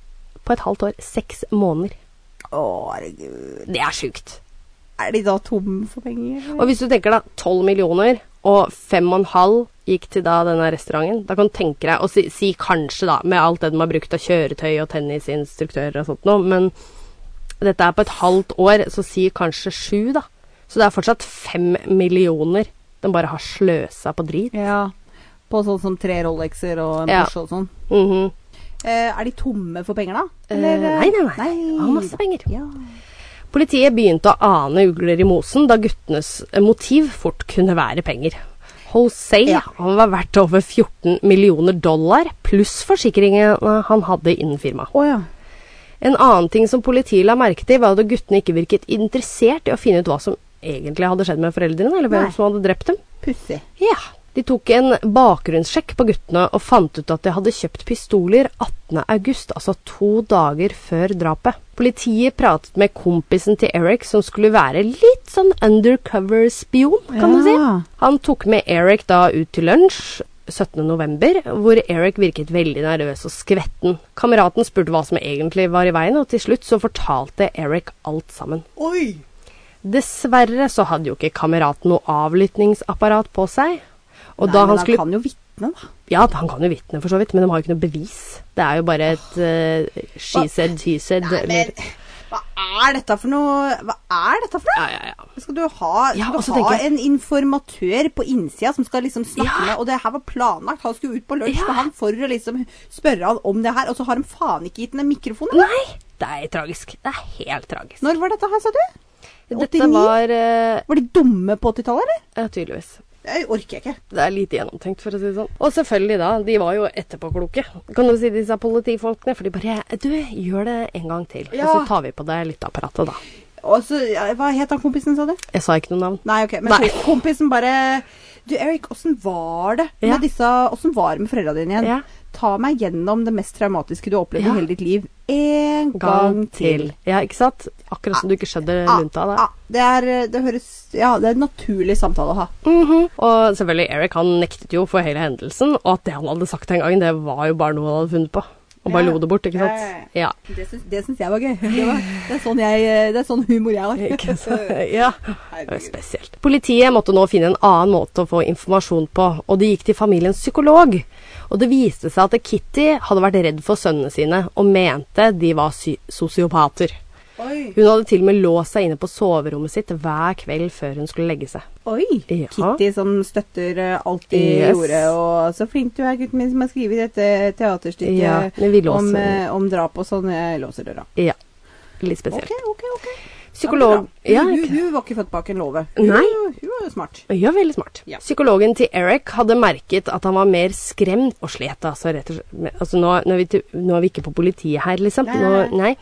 På et halvt år. Seks måneder. Å, herregud. Det er sjukt. Er de da tom for penger? Og hvis du tenker da, 12 millioner, og 5,5 gikk til da denne restauranten, da kan du tenke deg, og si, si kanskje da, med alt det de har brukt av kjøretøy og tennisinstruktører og sånt nå, men dette er på et halvt år, så si kanskje 7 da. Så det er fortsatt 5 millioner de bare har sløsa på drit. Ja. På sånn som tre Rolexer og en Ja. Porsche og sånn. Mhm. Eh, er de tomme for penger, da? Eh, nei, nei, nei. Han har masse penger. Ja. Politiet begynte å ane ugler i mosen, da guttenes eh, motiv fort kunne være penger. Jose Ja. han var verdt over 14 millioner dollar, pluss forsikringene han hadde innen firmaet. Å ja. En annen ting som politiet la merke til, var at guttene ikke virket interessert i å finne ut hva som egentlig hadde skjedd med foreldrene, eller hvem Nei. som hadde drept dem. Pussig. Ja. De tok en bakgrunnssjekk på guttene og fant ut at de hadde kjøpt pistoler 18. august, altså to dager før drapet. Politiet pratet med kompisen til Eric, som skulle være litt sånn undercover-spion, kan du si. Ja. Han tok med Eric da ut til lunsj 17. november, hvor Eric virket veldig nervøs og skvetten. Kameraten spurte hva som egentlig var i veien, og til slutt så fortalte Eric alt sammen. Oi! Dessverre så hadde jo ikke kameraten noe avlyttingsapparat på seg. Og Nei, da men han skulle kan jo vitne, da. Ja, han kan jo vitne, for så vidt, men de har jo ikke noe bevis. Det er jo bare et eh, she Hva? said, he said. Nei, men eller- hva er dette for noe? Hva er dette for noe? Ja, ja, ja. Skal du ha, Ja, og så skal du ha tenker jeg- en informatør på innsida som skal liksom snakke Ja. med Og det her var planlagt. Han skulle ut på lunsj Ja. med han for å liksom spørre han om det her, og så har de faen ikke gitt ham en mikrofon? eller? Nei! Det er tragisk. Det er helt tragisk. Når var dette her, sa du? Dette 89? var eh, Var de dumme på 80-tallet, eller? ja, Tydeligvis. Det orker jeg ikke. Det er lite gjennomtenkt, for å si det sånn. Og selvfølgelig, da. De var jo etterpåkloke, kan du si, disse politifolkene. For de bare Du, gjør det en gang til. Og Ja. så tar vi på deg lytteapparatet, da. Og så, ja, Hva het han kompisen, sa du? Jeg sa ikke noe navn. Nei, ok. Men Nei. sorry, kompisen bare Du, Erik, åssen var det Ja. med disse Åssen var det med foreldra dine igjen? Ja. Ta meg gjennom det mest traumatiske du har opplevd Ja. i hele ditt liv. En gang, til. Ja, ikke sant? Akkurat som du ikke skjønner lunta der. Ah, ah, det, er, det høres Ja, det er en naturlig samtale å ha. Mhm. Og selvfølgelig, Eric han nektet jo for hele hendelsen, og at det han hadde sagt den gangen, det var jo bare noe han hadde funnet på. Og bare Ja. lo det bort, ikke Ja, ja, sant? Ja. Det syns, det syns jeg var gøy. Det, var, det, er sånn jeg, det er sånn humor jeg har. Ikke sant? ja. Det var Herregud. Spesielt. Politiet måtte nå finne en annen måte å få informasjon på, og de gikk til familiens psykolog. Og det viste seg at Kitty hadde vært redd for sønnene sine, og mente de var sy sosiopater. Oi. Hun hadde til og med låst seg inne på soverommet sitt hver kveld før hun skulle legge seg. Oi. Ja. Kitty som støtter eh, alt de Yes. gjorde. Og så flink du er, gutten min, som har skrevet dette teaterstykket Ja, men vi låser- om, eh, om drap og sånn. Jeg låser døra. Ja. Litt spesielt. Ok, ok, ok. Psykolog Ja, men bra. Ja, hun, ikke- hun, hun var ikke født bak en låve. Hun, Nei. hun var jo smart. Ja, veldig smart. Ja. Psykologen til Eric hadde merket at han var mer skremt og slet. Altså, rett og slett. med- Altså, nå, nå, er vi til, nå er vi ikke på politiet her, liksom. Nei, Nå, nei.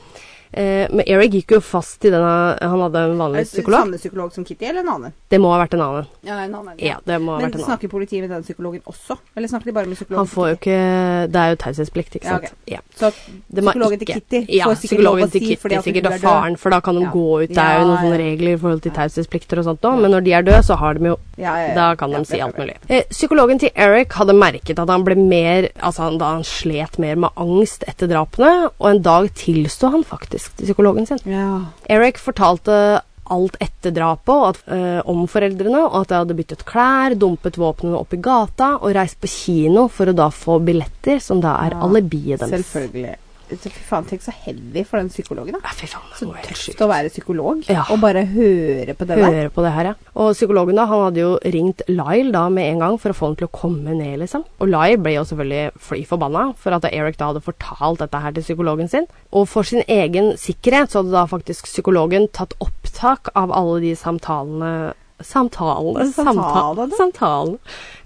Eh, men Eric gikk jo fast i denne Han hadde en Eh, vanlig psykolog. Samme psykolog som Kitty, eller en annen? Det må ha vært en annen. Ja, en annen. Ja, det må ha Men vært en annen. snakker politiet med den psykologen også? Eller snakker de bare med psykologen? Han får jo ikke Det er jo taushetsplikt, ikke Ja, sant. ok. Ja. Så De har psykologen til ikke- Kitty ja, får sikkert lov å psykologen til si Kitty fordi at hun sikkert er og død. faren, for da kan de Ja. gå ut. Det er jo noen Ja, ja. sånne regler i forhold til taushetsplikter og sånt nå, men når de er døde, så har de jo Ja, ja, ja. Da kan de Ja, det si er alt bra. mulig. Eh, psykologen til Eric hadde merket at han ble mer Altså han, da han slet mer med angst etter drapene, og en dag tilsto han faktisk til psykologen sin. Ja. Eric fortalte alt etter drapet og at, eh, om foreldrene, og at de hadde byttet klær, dumpet våpnene opp i gata og reist på kino for å da få billetter, som da er alibiet deres. Selvfølgelig. Fy faen, tenk så heavy for den psykologen, da. Ja, fy faen, det Så var helt sjukt. tøft å være psykolog Ja. og bare høre på det der. Høre på det her, ja. Og psykologen da, han hadde jo ringt Lyle da med en gang for å få han til å komme ned, liksom. Og Lyle ble jo selvfølgelig fly forbanna for at Eric da hadde fortalt dette her til psykologen sin. Og for sin egen sikkerhet så hadde da faktisk psykologen tatt opptak av alle de samtalene Samtalene Samtalene? samta- Samtalen.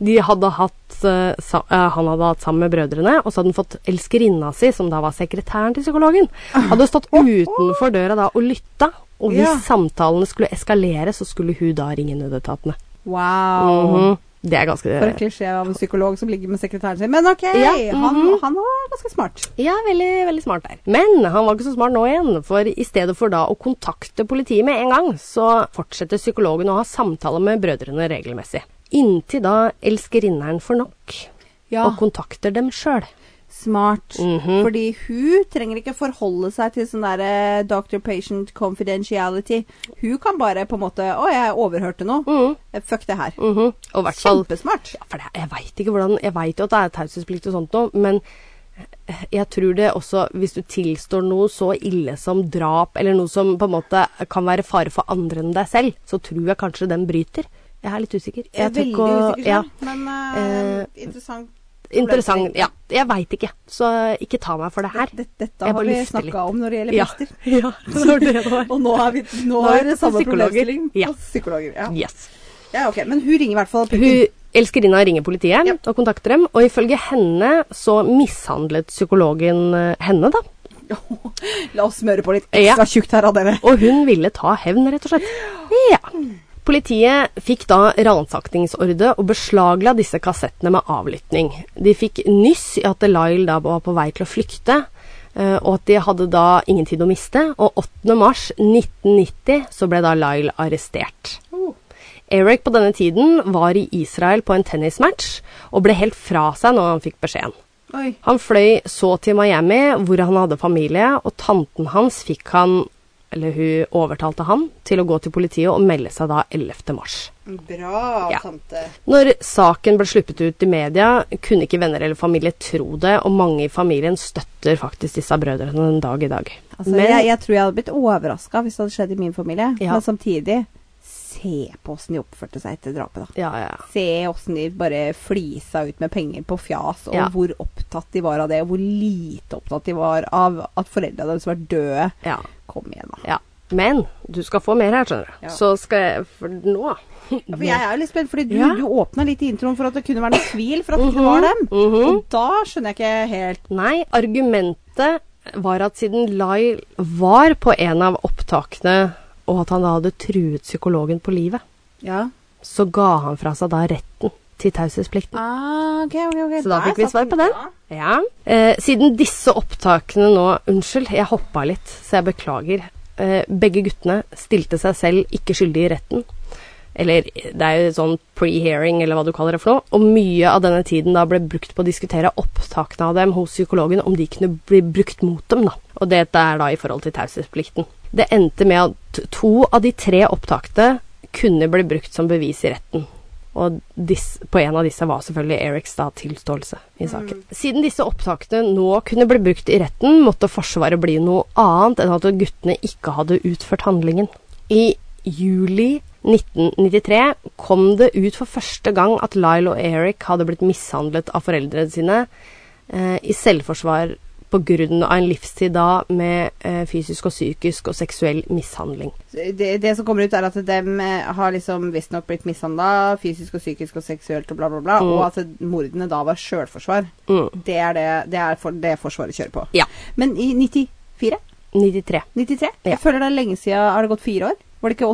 De hadde hatt, eh, sa, eh, han hadde hatt sammen med brødrene, og så hadde han fått elskerinna si, som da var sekretæren til psykologen, hadde stått utenfor døra da og lytta. Og hvis Ja. samtalene skulle eskalere, så skulle hun da ringe nødetatene. Wow. Mhm. Det er ganske For en klisjé av en psykolog som ligger med sekretæren sin. Men OK, Ja, han, mhm. han var ganske smart. Ja, veldig, veldig smart der. Men han var ikke så smart nå igjen, for i stedet for da å kontakte politiet med en gang, så fortsetter psykologen å ha samtaler med brødrene regelmessig. Inntil da elskerinneren får nok, Ja, og kontakter dem sjøl. smart. Mhm. Fordi hun trenger ikke forholde seg til sånn derre doctor-patient confidentiality. Hun kan bare på en måte Å, jeg overhørte noe. Fuck det her. Og Mhm. i hvert fall Kjempesmart. For det, jeg veit ikke hvordan Jeg vet jo at det er taushetsplikt og sånt noe, men eh, jeg tror det også Hvis du tilstår noe så ille som drap, eller noe som på en måte kan være fare for andre enn deg selv, så tror jeg kanskje den bryter. Jeg er litt usikker. Jeg er tror veldig ikke å- usikker, ja. selv, men eh, interessant. Interessant. Ja, jeg veit ikke. Så eh, ikke ta meg for det her. Dette, dette Jeg har bare vi lufter litt. snakka om når det gjelder Ja. prester. ja, det var det det var. Og nå er, vi, nå Nå er er det det samme psykologer. problemstilling. Ja. Og Psykologer. Ja. Yes. ja, ok. Men hun ringer i hvert fall. Hun elskerinna ringer politiet Ja. og kontakter dem, og ifølge henne så mishandlet psykologen eh, henne, da. La oss smøre på litt Ja. ekstra tjukt her av dere. Og hun ville ta hevn, rett og slett. Ja. Politiet fikk da ransakingsordre og beslagla disse kassettene med avlytting. De fikk nyss i at Lyle da var på vei til å flykte, eh, og at de hadde da ingen tid å miste. Og 8. mars 1990 så ble da Lyle arrestert. Eric på denne tiden var i Israel på en tennismatch og ble helt fra seg når han fikk beskjeden. Oi. Han fløy så til Miami, hvor han hadde familie, og tanten hans fikk han, eller hun overtalte han, til å gå til politiet og melde seg da 11. mars. Bra, Ja. tante. Når saken ble sluppet ut i media, kunne ikke venner eller familie tro det, og mange i familien støtter faktisk disse brødrene den dag i dag. Altså, Men- jeg, jeg tror jeg hadde blitt overraska hvis det hadde skjedd i min familie. Ja. Men samtidig Se på åssen de oppførte seg etter drapet, da. Ja, ja, ja. Se åssen de bare flisa ut med penger på fjas, og Ja. hvor opptatt de var av det, og hvor lite opptatt de var av at foreldra deres var døde. ja. Kom igjen, da. ja. Men du skal få mer her, skjønner du. Ja. Så skal jeg For nå Ja, For jeg er jo litt spent, fordi du, Ja. Mhm, du åpna litt i introen for at det kunne være noe tvil for at det ikke var dem. Og da skjønner jeg ikke helt Nei, argumentet var at siden Lyle var på en av opptakene, og at han da hadde truet psykologen på livet, Ja. så ga han fra seg da retten til taushetsplikten. Ah, ok, ok, ok. Så da Der fikk vi satt svar på den. Ja. Ja. Eh, siden disse opptakene nå Unnskyld, jeg hoppa litt, så jeg beklager. Eh, begge guttene stilte seg selv ikke skyldig i retten. Eller det er jo sånn pre-hearing, eller hva du kaller det for noe. Og mye av denne tiden da ble brukt på å diskutere opptakene av dem hos psykologen, om de kunne bli brukt mot dem, da. Og dette er da i forhold til taushetsplikten. Det endte med at to av de tre opptakene kunne bli brukt som bevis i retten. Og dis, på en av disse var selvfølgelig Erics da tilståelse i saken. Siden disse opptakene nå kunne bli brukt i retten, måtte Forsvaret bli noe annet enn at guttene ikke hadde utført handlingen. I juli 1993 kom det ut for første gang at Lyle og Eric hadde blitt mishandlet av foreldrene sine eh, i selvforsvar på grunn av en livstid da med eh, fysisk og psykisk og seksuell mishandling. Det, det som kommer ut, er at dem eh, har liksom visstnok blitt mishandla fysisk og psykisk og seksuelt og bla, bla, bla. Og at mordene da var sjølforsvar. Mm. Det er, det, det, er for, det Forsvaret kjører på. Ja. Men i 94? 93. 93? Ja. Jeg føler det er lenge siden. Har det gått fire år? Var det ikke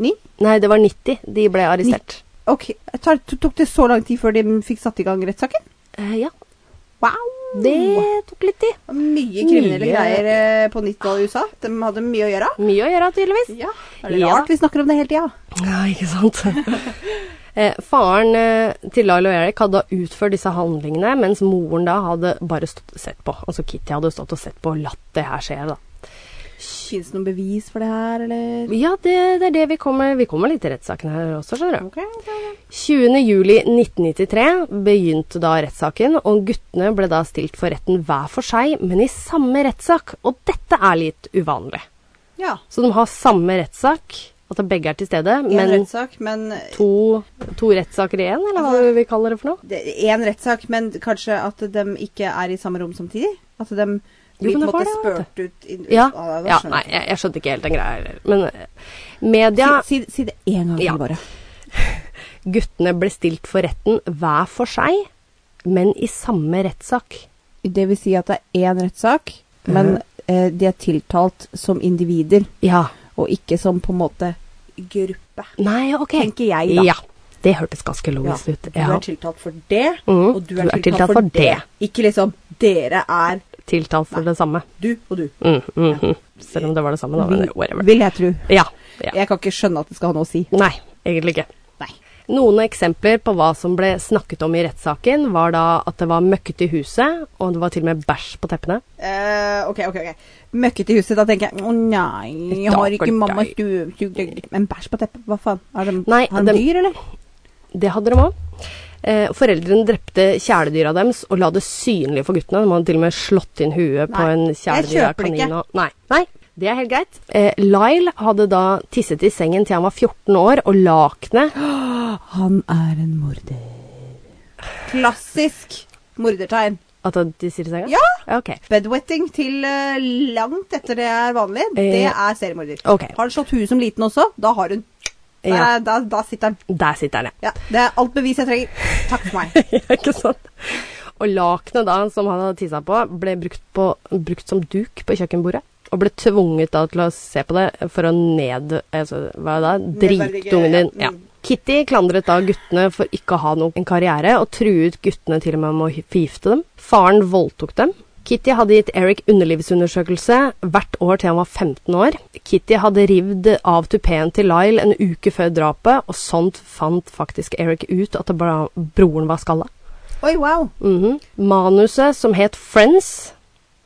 89? Nei, det var 90 de ble arrestert. Ok, tar, Tok det så lang tid før de fikk satt i gang rettssaken? Eh, ja, Wow! Det tok litt tid. Mye kriminelle Mye- greier eh, på 90-tallet i USA. De hadde mye å gjøre. Mye å gjøre, tydeligvis. Ja, er det Ja. rart vi snakker om det hele tida? Ja, ikke sant. Eh, Faren eh, til Lyle og Eric hadde da utført disse handlingene, mens moren da hadde bare stått og sett på. Altså Kitty hadde stått og sett på og latt det her skje, da. Fins det noen bevis for det her, eller? Ja, det, det er det vi kommer Vi kommer litt til rettssaken her også, skjønner du. Ok, ok, ok. 20.07.1993 begynte da rettssaken, og guttene ble da stilt for retten hver for seg, men i samme rettssak. Og dette er litt uvanlig. Ja. Så de har samme rettssak, at begge er til stede, En men rettssak, men to, to rettssaker i én, eller hva vi kaller det for noe? Én rettssak, men kanskje at de ikke er i samme rom samtidig? At de blir men på en det var måte det, vet spurt ut i- Ja. Ah, da ja skjønner nei, jeg. jeg, jeg skjønte ikke helt den greia heller. Men eh, media Si, si, si det én gang til, Ja. bare. Guttene ble stilt for retten hver for seg, men i samme rettssak. Det vil si at det er én rettssak, men Mhm. eh, de er tiltalt som individer, Ja. og ikke som på en måte gruppe. Nei, ok. Tenker jeg, da. Ja. Det hørtes ganske logisk ut. Du Ja. er tiltalt for det, Mhm. og du er, tiltalt, for det. Ikke liksom 'dere er Tiltalt for det samme. du og du'. Mm, mm, mm. Selv om det var det samme, da. Men whatever. Vil jeg tro. Ja. ja. Jeg kan ikke skjønne at det skal ha noe å si. Nei, egentlig ikke. Nei. Noen eksempler på hva som ble snakket om i rettssaken, var da at det var møkkete i huset, og det var til og med bæsj på teppene. Eh, ok, ok, ok. Møkkete i huset, da tenker jeg å nei, jeg har ikke Stakkars mamma deg. stuesugd Men bæsj på teppet, hva faen? Er de, Nei, er de dem- dyr, eller? Det hadde de òg. Eh, foreldrene drepte kjæledyra deres og la det synlig for guttene. De hadde til og med slått inn huet på Nei, en kjæledyra jeg kjøper det kanin. ikke. Og, nei, nei, det er helt greit. Eh, Lyle hadde da tisset i sengen til han var 14 år, og lakenet Han er en morder. Klassisk mordertegn. At han tisser i senga? Ja! Ok. Bedwetting til eh, langt etter det er vanlig, det Eh, er seriemorder. ok. Har han slått huet som liten også, da har hun. Der, Ja. er- da, da sitter han. Der sitter han, ja. Ja, det er alt bevis jeg trenger. Takk for meg. Ja, Ikke sant? Og lakenet da, som han hadde tissa på, ble brukt, på, brukt som duk på kjøkkenbordet. Og ble tvunget da til å se på det for å ned... Altså, hva er det da? Nedverdige, Dritungen din. ja, Ja. mm. Kitty klandret da guttene for ikke å ha noen en karriere, og truet guttene til og med med å forgifte dem. Faren voldtok dem. Kitty hadde gitt Eric underlivsundersøkelse hvert år til han var 15 år. Kitty hadde rivd av tupeen til Lyle en uke før drapet, og sånt fant faktisk Eric ut at det bra- broren var skalla. Oi, wow. Mhm. Manuset som het Friends,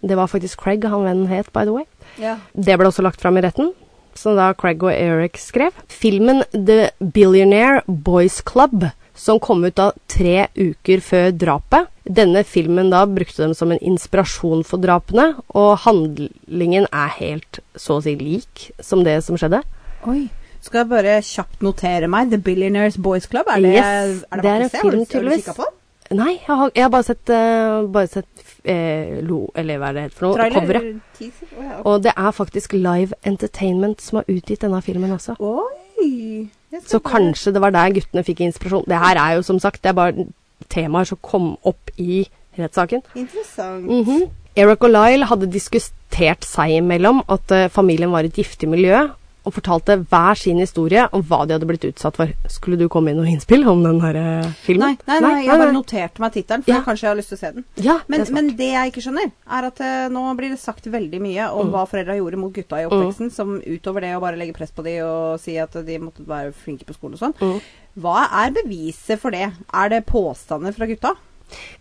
det var faktisk Craig han vennen het, by the way. Ja. Det ble også lagt fram i retten, som da Craig og Eric skrev. Filmen The Billionaire Boys Club, som kom ut da tre uker før drapet. Denne filmen da brukte dem som en inspirasjon for drapene, og handlingen er helt så å si lik som det som skjedde. Oi. Skal jeg bare kjapt notere meg The Billionaires Boys Club? Er det, Yes, er det, det er en faktisk Har film, du- har du tydeligvis. kikket på den? Nei, jeg har, jeg har bare sett, eh, bare sett eh, lo, eller hva er det heter for noe? Trailer? Coveret. Teaser? Å, ja, ok. Og det er faktisk Live Entertainment som har utgitt denne filmen også. Oi! det skal Så jeg bare- kanskje det var der guttene fikk inspirasjon. Det her er jo som sagt, det er bare temaer som kom opp i rettssaken. Interessant. Mhm. Eric og Lyle hadde diskutert seg imellom at eh, familien var et giftig miljø, og fortalte hver sin historie om hva de hadde blitt utsatt for. Skulle du komme med noe innspill om den her eh, Nei, filmen? nei, nei, jeg bare nei. noterte meg tittelen, for Ja. kanskje jeg har lyst til å se den. Ja, det Men det, er smart. men det jeg ikke skjønner, er at eh, nå blir det sagt veldig mye Mm. om hva foreldra gjorde mot gutta i oppveksten, som utover det å bare legge press på de og si at de måtte være flinke på skolen og sånn. Mm. Hva er beviset for det? Er det påstander fra gutta?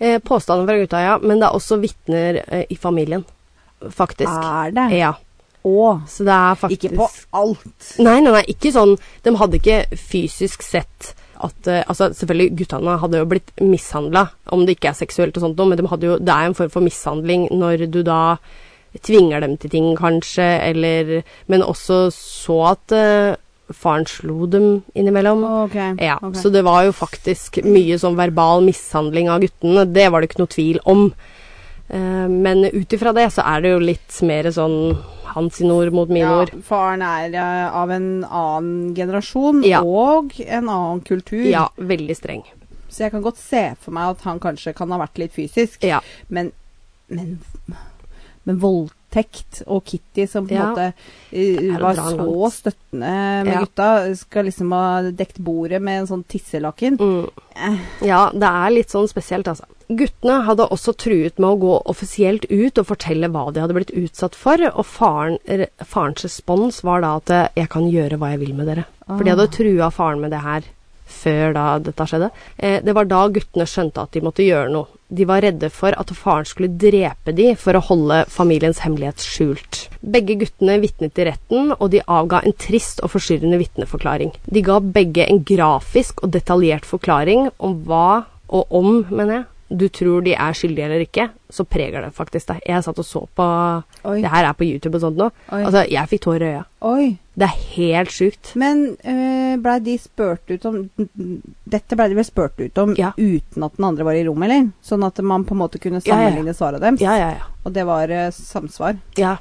Eh, Påstander fra gutta, ja. Men det er også vitner eh, i familien, faktisk. Er det? Ja. Å, Så det er faktisk Ah. ikke på alt. Nei, nei, nei, ikke sånn. De hadde ikke fysisk sett at eh, Altså, selvfølgelig, guttene hadde jo blitt mishandla, om det ikke er seksuelt og sånt noe, men de hadde jo, det er en form for mishandling når du da tvinger dem til ting, kanskje, eller Men også så at eh, faren slo dem innimellom. Ok. Ja, ok. så det var jo faktisk mye sånn verbal mishandling av guttene, det var det ikke noe tvil om. Eh, Men ut ifra det så er det jo litt mer sånn hans sine ord mot mine ord. Ja, faren er eh, av en annen generasjon Ja. og en annen kultur. Ja, veldig streng. Så jeg kan godt se for meg at han kanskje kan ha vært litt fysisk, Ja. men, men, men voldtekt og Kitty som på en Ja. er måte eh, å var dra så langt. støttende med Ja. gutta, skal liksom ha dekt bordet med en sånn tisselaken. Mm. Eh, Ja, det er litt sånn spesielt, altså. Guttene hadde også truet med å gå offisielt ut og fortelle hva de hadde blitt utsatt for, og faren, re- farens respons var da at eh, 'jeg kan gjøre hva jeg vil med dere'. For de hadde trua faren med det her før da dette skjedde. Eh, det var da guttene skjønte at de måtte gjøre noe. De var redde for at faren skulle drepe de for å holde familiens hemmelighet skjult. Begge guttene vitnet i retten, og de avga en trist og forstyrrende vitneforklaring. De ga begge en grafisk og detaljert forklaring om hva, og om, mener jeg, du tror de er skyldige eller ikke, så preger det faktisk deg. Jeg satt og så på Oi. Det her er på YouTube og sånt nå. Oi. Altså, jeg fikk tårer i øya. Oi. Det er helt sjukt. Men øh, blei de spurt ut om Dette blei de vel spurt ut om Ja. uten at den andre var i rommet, eller? Sånn at man på en måte kunne Ja, ja, ja. sammenligne svarene deres. Ja, ja, ja. Og det var øh, samsvar. Ja,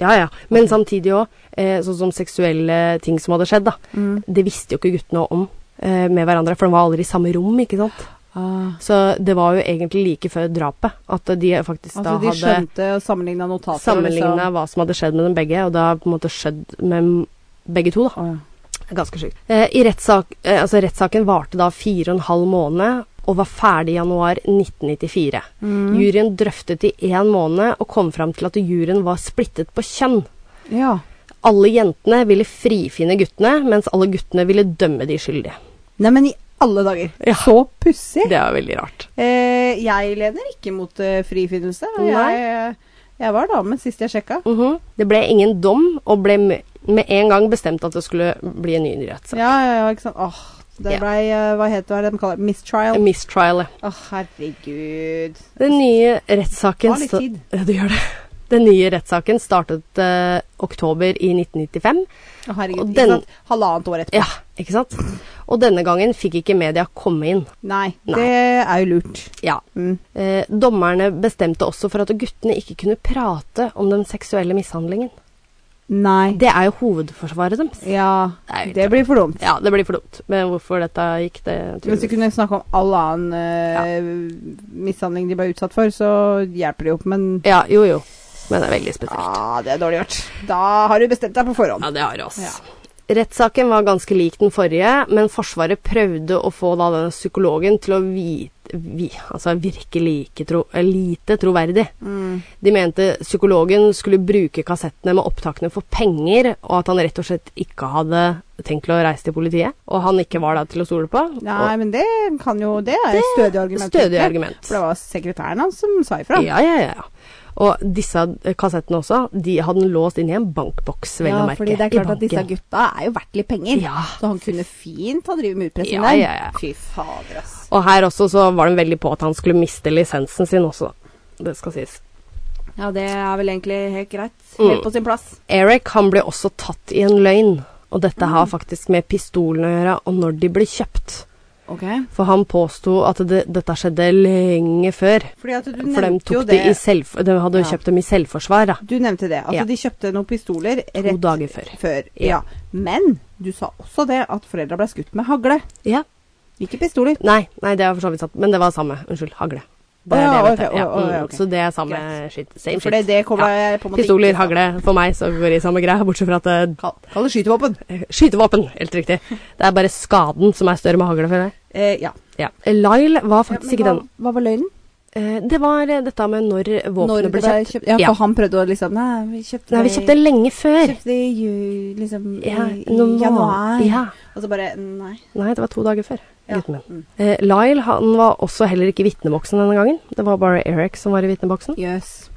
ja. ja. Men samtidig òg, eh, sånn som seksuelle ting som hadde skjedd, da. Det visste jo ikke guttene om eh, med hverandre, for de var aldri i samme rom, ikke sant. Ah. Så det var jo egentlig like før drapet at de faktisk altså Ah, da de hadde skjønte og sammenligna notater. liksom. sammenligna hva som hadde skjedd med dem begge, og det har på en måte skjedd med begge to, da. Liksom. Å, ja. Det er Ganske sjukt. Eh, i rettssak, eh, altså rettssaken varte da fire og en halv måned og var ferdig i januar 1994. Mm. Juryen drøftet i én måned og kom fram til at juryen var splittet på kjønn. ja. Alle jentene ville frifinne guttene, mens alle guttene ville dømme de skyldige. Neimen, i alle dager! Ja. Så pussig! Det er veldig rart. Eh, jeg lener ikke mot eh, frifinnelse. og Jeg, jeg var dame sist jeg sjekka. Mhm. Det ble ingen dom, og ble med med en gang bestemt at det skulle bli en ny rettssak. Ja, ja, ja, ikke sant. Åh, det Ja. blei eh, Hva heter hva er det de kaller det? En Mistrial? Mistrial. ja. Åh, herregud. Den nye rettssaken Ta litt sta- tid. Ja, det gjør det. Den nye rettssaken startet eh, oktober i 1995. Å, herregud. Og ikke den- sant? Halvannet år etterpå. Ja, ikke sant? Og denne gangen fikk ikke media komme inn. Nei, Nei. det er jo lurt. Ja. Mm. Eh, dommerne bestemte også for at guttene ikke kunne prate om den seksuelle mishandlingen. Nei. Det er jo hovedforsvaret deres. Ja, Det er jo helt det blir for dumt. Ja, det blir for dumt. Men hvorfor dette gikk, det tror Hvis du jeg kunne snakke om all annen eh, mishandling de ble utsatt for, så hjelper det jo, men Ja, jo jo. Men det er veldig spesielt. ah, det er dårlig gjort. Da har du bestemt deg på forhånd. Ja, det har oss. Ja. Rettssaken var ganske lik den forrige, men Forsvaret prøvde å få da denne psykologen til å vite, vi, altså virke like tro, eh, lite troverdig. Mm. De mente psykologen skulle bruke kassettene med opptakene for penger, og at han rett og slett ikke hadde tenkt å reise til politiet. Og han ikke var da til å stole på. Nei, men det kan jo Det er et stødig argument. stødig tenker jeg. argument. For det var sekretæren hans som sa ifra. Ja, ja, ja. ja. Og disse eh, kassettene også, de hadde han låst inn i en bankboks, vel å merke. fordi det er I klart at disse banken. gutta er jo verdt litt penger. Ja. Så han kunne fint ha drevet med utpressing Ja, der. ja, ja. Fy fader, ass. Og her også så var de veldig på at han skulle miste lisensen sin også. Det skal sies. Ja, det er vel egentlig helt greit. Helt Mm. på sin plass. Eric han ble også tatt i en løgn, og dette Mm. har faktisk med pistolene å gjøre, og når de ble kjøpt. Ok. For han påsto at det, dette skjedde lenge før. Fordi at du For de, nevnte jo tok det de, i selv, de hadde jo Ja. kjøpt dem i selvforsvar, da. Du nevnte det. At Ja. de kjøpte noen pistoler To rett dager før. før. Ja. Ja. Men du sa også det at foreldra ble skutt med hagle. Ja. Ikke pistoler. Nei, nei, det har for så vidt sant. Men det var samme. Unnskyld. Hagle. Det Å er ja, det jeg vet. ok, ja. å, å, mm, ja, ok. Så det er samme Greit. shit. Same For det, shit. det kommer Ja. jeg på en måte Pistoler, ikke- hagle. For meg så går det i samme greia, bortsett fra at det Kall kall det skytevåpen. Skytevåpen, helt riktig. Det er bare skaden som er større med hagle for deg. Eh, ja. Ja. Lyle var faktisk Ja, ikke men den. hva, hva var løgnen? Eh, Det var eh, dette med når Når våpenet det ble ble kjøpt. kjøpt? Ja, Ja. for han prøvde å liksom Nei, vi kjøpte Nei, vi det i- kjøpte det lenge før. kjøpte det i ju, liksom, i- Ja, i noen må- januar. Ja. Og så bare Nei. Nei, det var to dager før. Ja. Gutten min. Mm. Eh, Lyle han var også heller ikke i vitneboksen denne gangen. Det var bare Eric som var i vitneboksen. Jøss.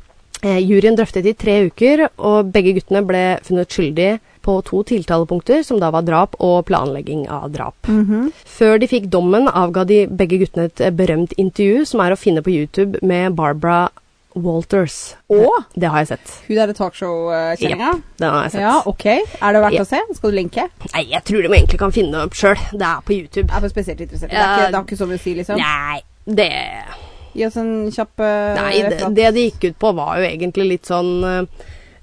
Eh, juryen drøftet i tre uker, og begge guttene ble funnet skyldige på to tiltalepunkter, som da var drap og planlegging av drap. Før de fikk dommen, avga de begge guttene et eh, berømt intervju som er å finne på YouTube med Barbara Walters. Å! Det, det har jeg sett. Hun derre talkshow-kjenninga? Det har jeg sett. Ja, OK. Er det verdt Ja. å se? Skal du lenke? Nei, jeg tror de egentlig kan finne det opp sjøl. Det er på YouTube. Jeg er for spesielt interessert. Det Ja. er ikke, det er ikke så mye å si, liksom. Nei, det Gi oss en kjapp eh, Nei, det, referat. det de gikk ut på var jo egentlig litt sånn eh,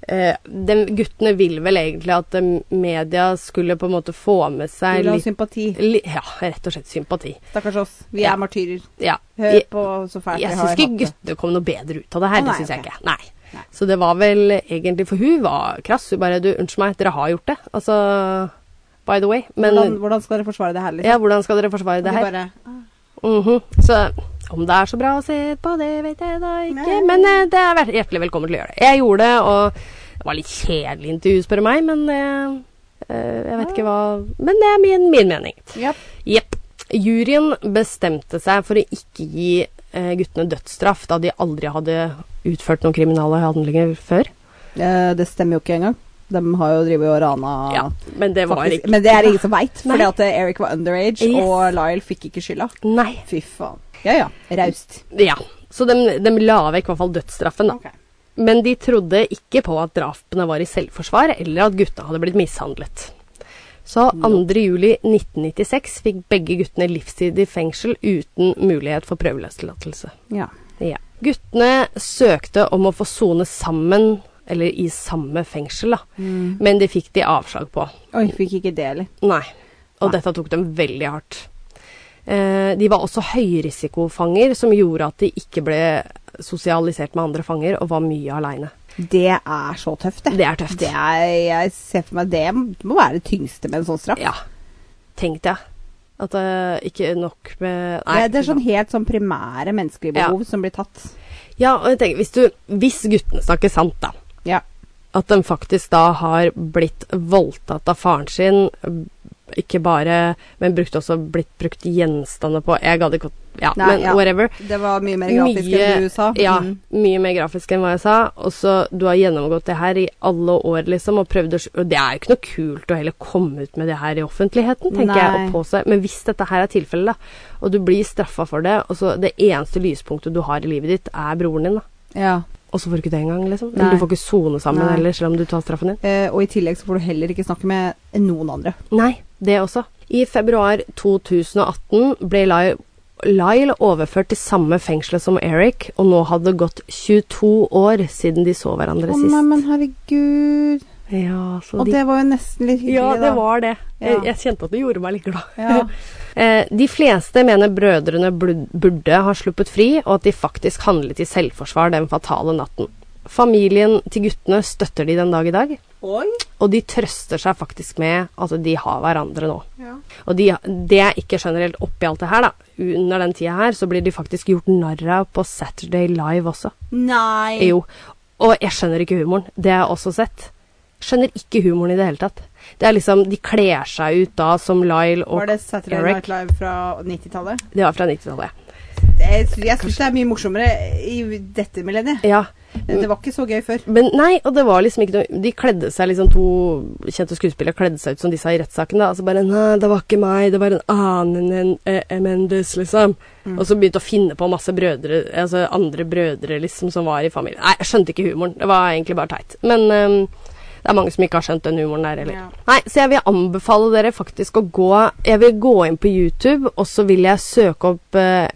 eh, de guttene vil vel egentlig at eh, media skulle på en måte få med seg Vil ha litt sympati. li, Ja, rett og slett sympati. Stakkars oss. Vi Ja. er martyrer. Ja. Hør Jeg, på så fælt jeg vi syns har ikke hatt det. guttene kom noe bedre ut av det her, det Å, nei, syns jeg ok. ikke. Nei. Nei. Så det var vel egentlig For hun var krass. Hun bare Du, unnskyld meg, dere har gjort det. Altså By the way. Men hvordan, hvordan skal dere forsvare det her, liksom? ja, hvordan skal dere forsvare det De her? Bare, Mhm. Så om det er så bra å se på, det vet jeg da ikke. Nei. Men eh, det er vær- hjertelig velkommen til å gjøre det. Jeg gjorde det, og det var litt kjedelig intervju, spør du meg, men eh, eh, jeg vet ikke hva Men det er min, min mening. ja. Jepp. Juryen bestemte seg for å ikke gi eh, guttene dødsstraff, da de aldri hadde utført noen kriminale handlinger før. Eh, det stemmer jo ikke engang. De har jo drevet og rana Ja, men det var faktisk. ikke Men det er det ingen som veit, Nei. fordi at eh, Eric var underage, Yes. og Lyle fikk ikke skylda. Nei. Fy faen. Ja ja, raust. Ja. Så de, de la vekk i hvert fall dødsstraffen, da. Ok. Men de trodde ikke på at drapene var i selvforsvar, eller at gutta hadde blitt mishandlet. Så 2.7.1996 fikk begge guttene livstid i fengsel uten mulighet for prøveløslatelse. Ja. Ja. Guttene søkte om å få sone sammen, eller i samme fengsel, da. Mm. Men det fikk de avslag på. Oi, fikk ikke det heller. Nei. Og Nei. dette tok dem veldig hardt. Eh, de var også høyrisikofanger, som gjorde at de ikke ble sosialisert med andre fanger, og var mye aleine. Det er så tøft, det. Det er tøft. Det er, jeg ser for meg det må være det tyngste med en sånn straff. Ja. Tenkte jeg. At eh, ikke nok med det, er- det er sånn helt sånn primære menneskelige Ja. behov som blir tatt. Ja, og jeg tenker, hvis, du, hvis guttene snakker sant, da. Ja. At de faktisk da har blitt voldtatt av faren sin. b- Ikke bare, men brukt også blitt brukt gjenstander på. Jeg gadd ikke å Ja, Nei, men ja. whatever. Det var mye mer grafisk Mye- enn du sa. Ja, Mm. mye mer grafisk enn hva jeg sa. Og så du har gjennomgått det her i alle år, liksom, og prøvd å sk- Og det er jo ikke noe kult å heller komme ut med det her i offentligheten, tenker Nei. jeg, og på seg. Men hvis dette her er tilfellet, da, og du blir straffa for det, og så det eneste lyspunktet du har i livet ditt, er broren din, da. ja. Og så får du ikke det engang, liksom. Nei. Eller du får ikke sone sammen Nei. heller, selv om du tar straffen din. Eh, og i tillegg så får du heller ikke snakke med noen andre. Nei, det også. I februar 2018 ble Lyle, Lyle overført til samme fengselet som Eric, og nå hadde det gått 22 år siden de så hverandre Å nei, sist. men herregud. Ja, så Og de, det var jo nesten litt hyggelig, ja, det var det. Jeg, Ja. jeg kjente at det gjorde meg litt glad. da. Ja. Eh, de fleste mener brødrene blu- burde ha sluppet fri, og at de faktisk handlet i selvforsvar den fatale natten. Familien til guttene støtter de den dag i dag, Oi. og de trøster seg faktisk med at de har hverandre nå. Ja. Og de, det jeg ikke skjønner helt oppi alt det her, da, under den tida her, så blir de faktisk gjort narr av på Saturday Live også. Nei. Jo. Og jeg skjønner ikke humoren. Det har jeg også sett. Skjønner ikke humoren i det hele tatt. Det er liksom, De kler seg ut da som Lyle og Var det Saturday Eric. Night Live fra 90-tallet? Det var fra 90-tallet. Jeg, jeg syns det er mye morsommere i dette millenniet. Ja. Det var ikke så gøy før. Men nei, og det var liksom ikke noe De kledde seg liksom to kjente skuespillere kledde seg ut som de sa i rettssaken. da, Altså bare 'Nei, det var ikke meg, det var en annen enn eh, Mendes', liksom. Og så begynte å finne på masse brødre, altså andre brødre liksom som var i familien. Nei, jeg skjønte ikke humoren. Det var egentlig bare teit. Men ehm, det er mange som ikke har skjønt den humoren der heller. Ja. Nei, så jeg vil anbefale dere faktisk å gå Jeg vil gå inn på YouTube, og så vil jeg søke opp eh,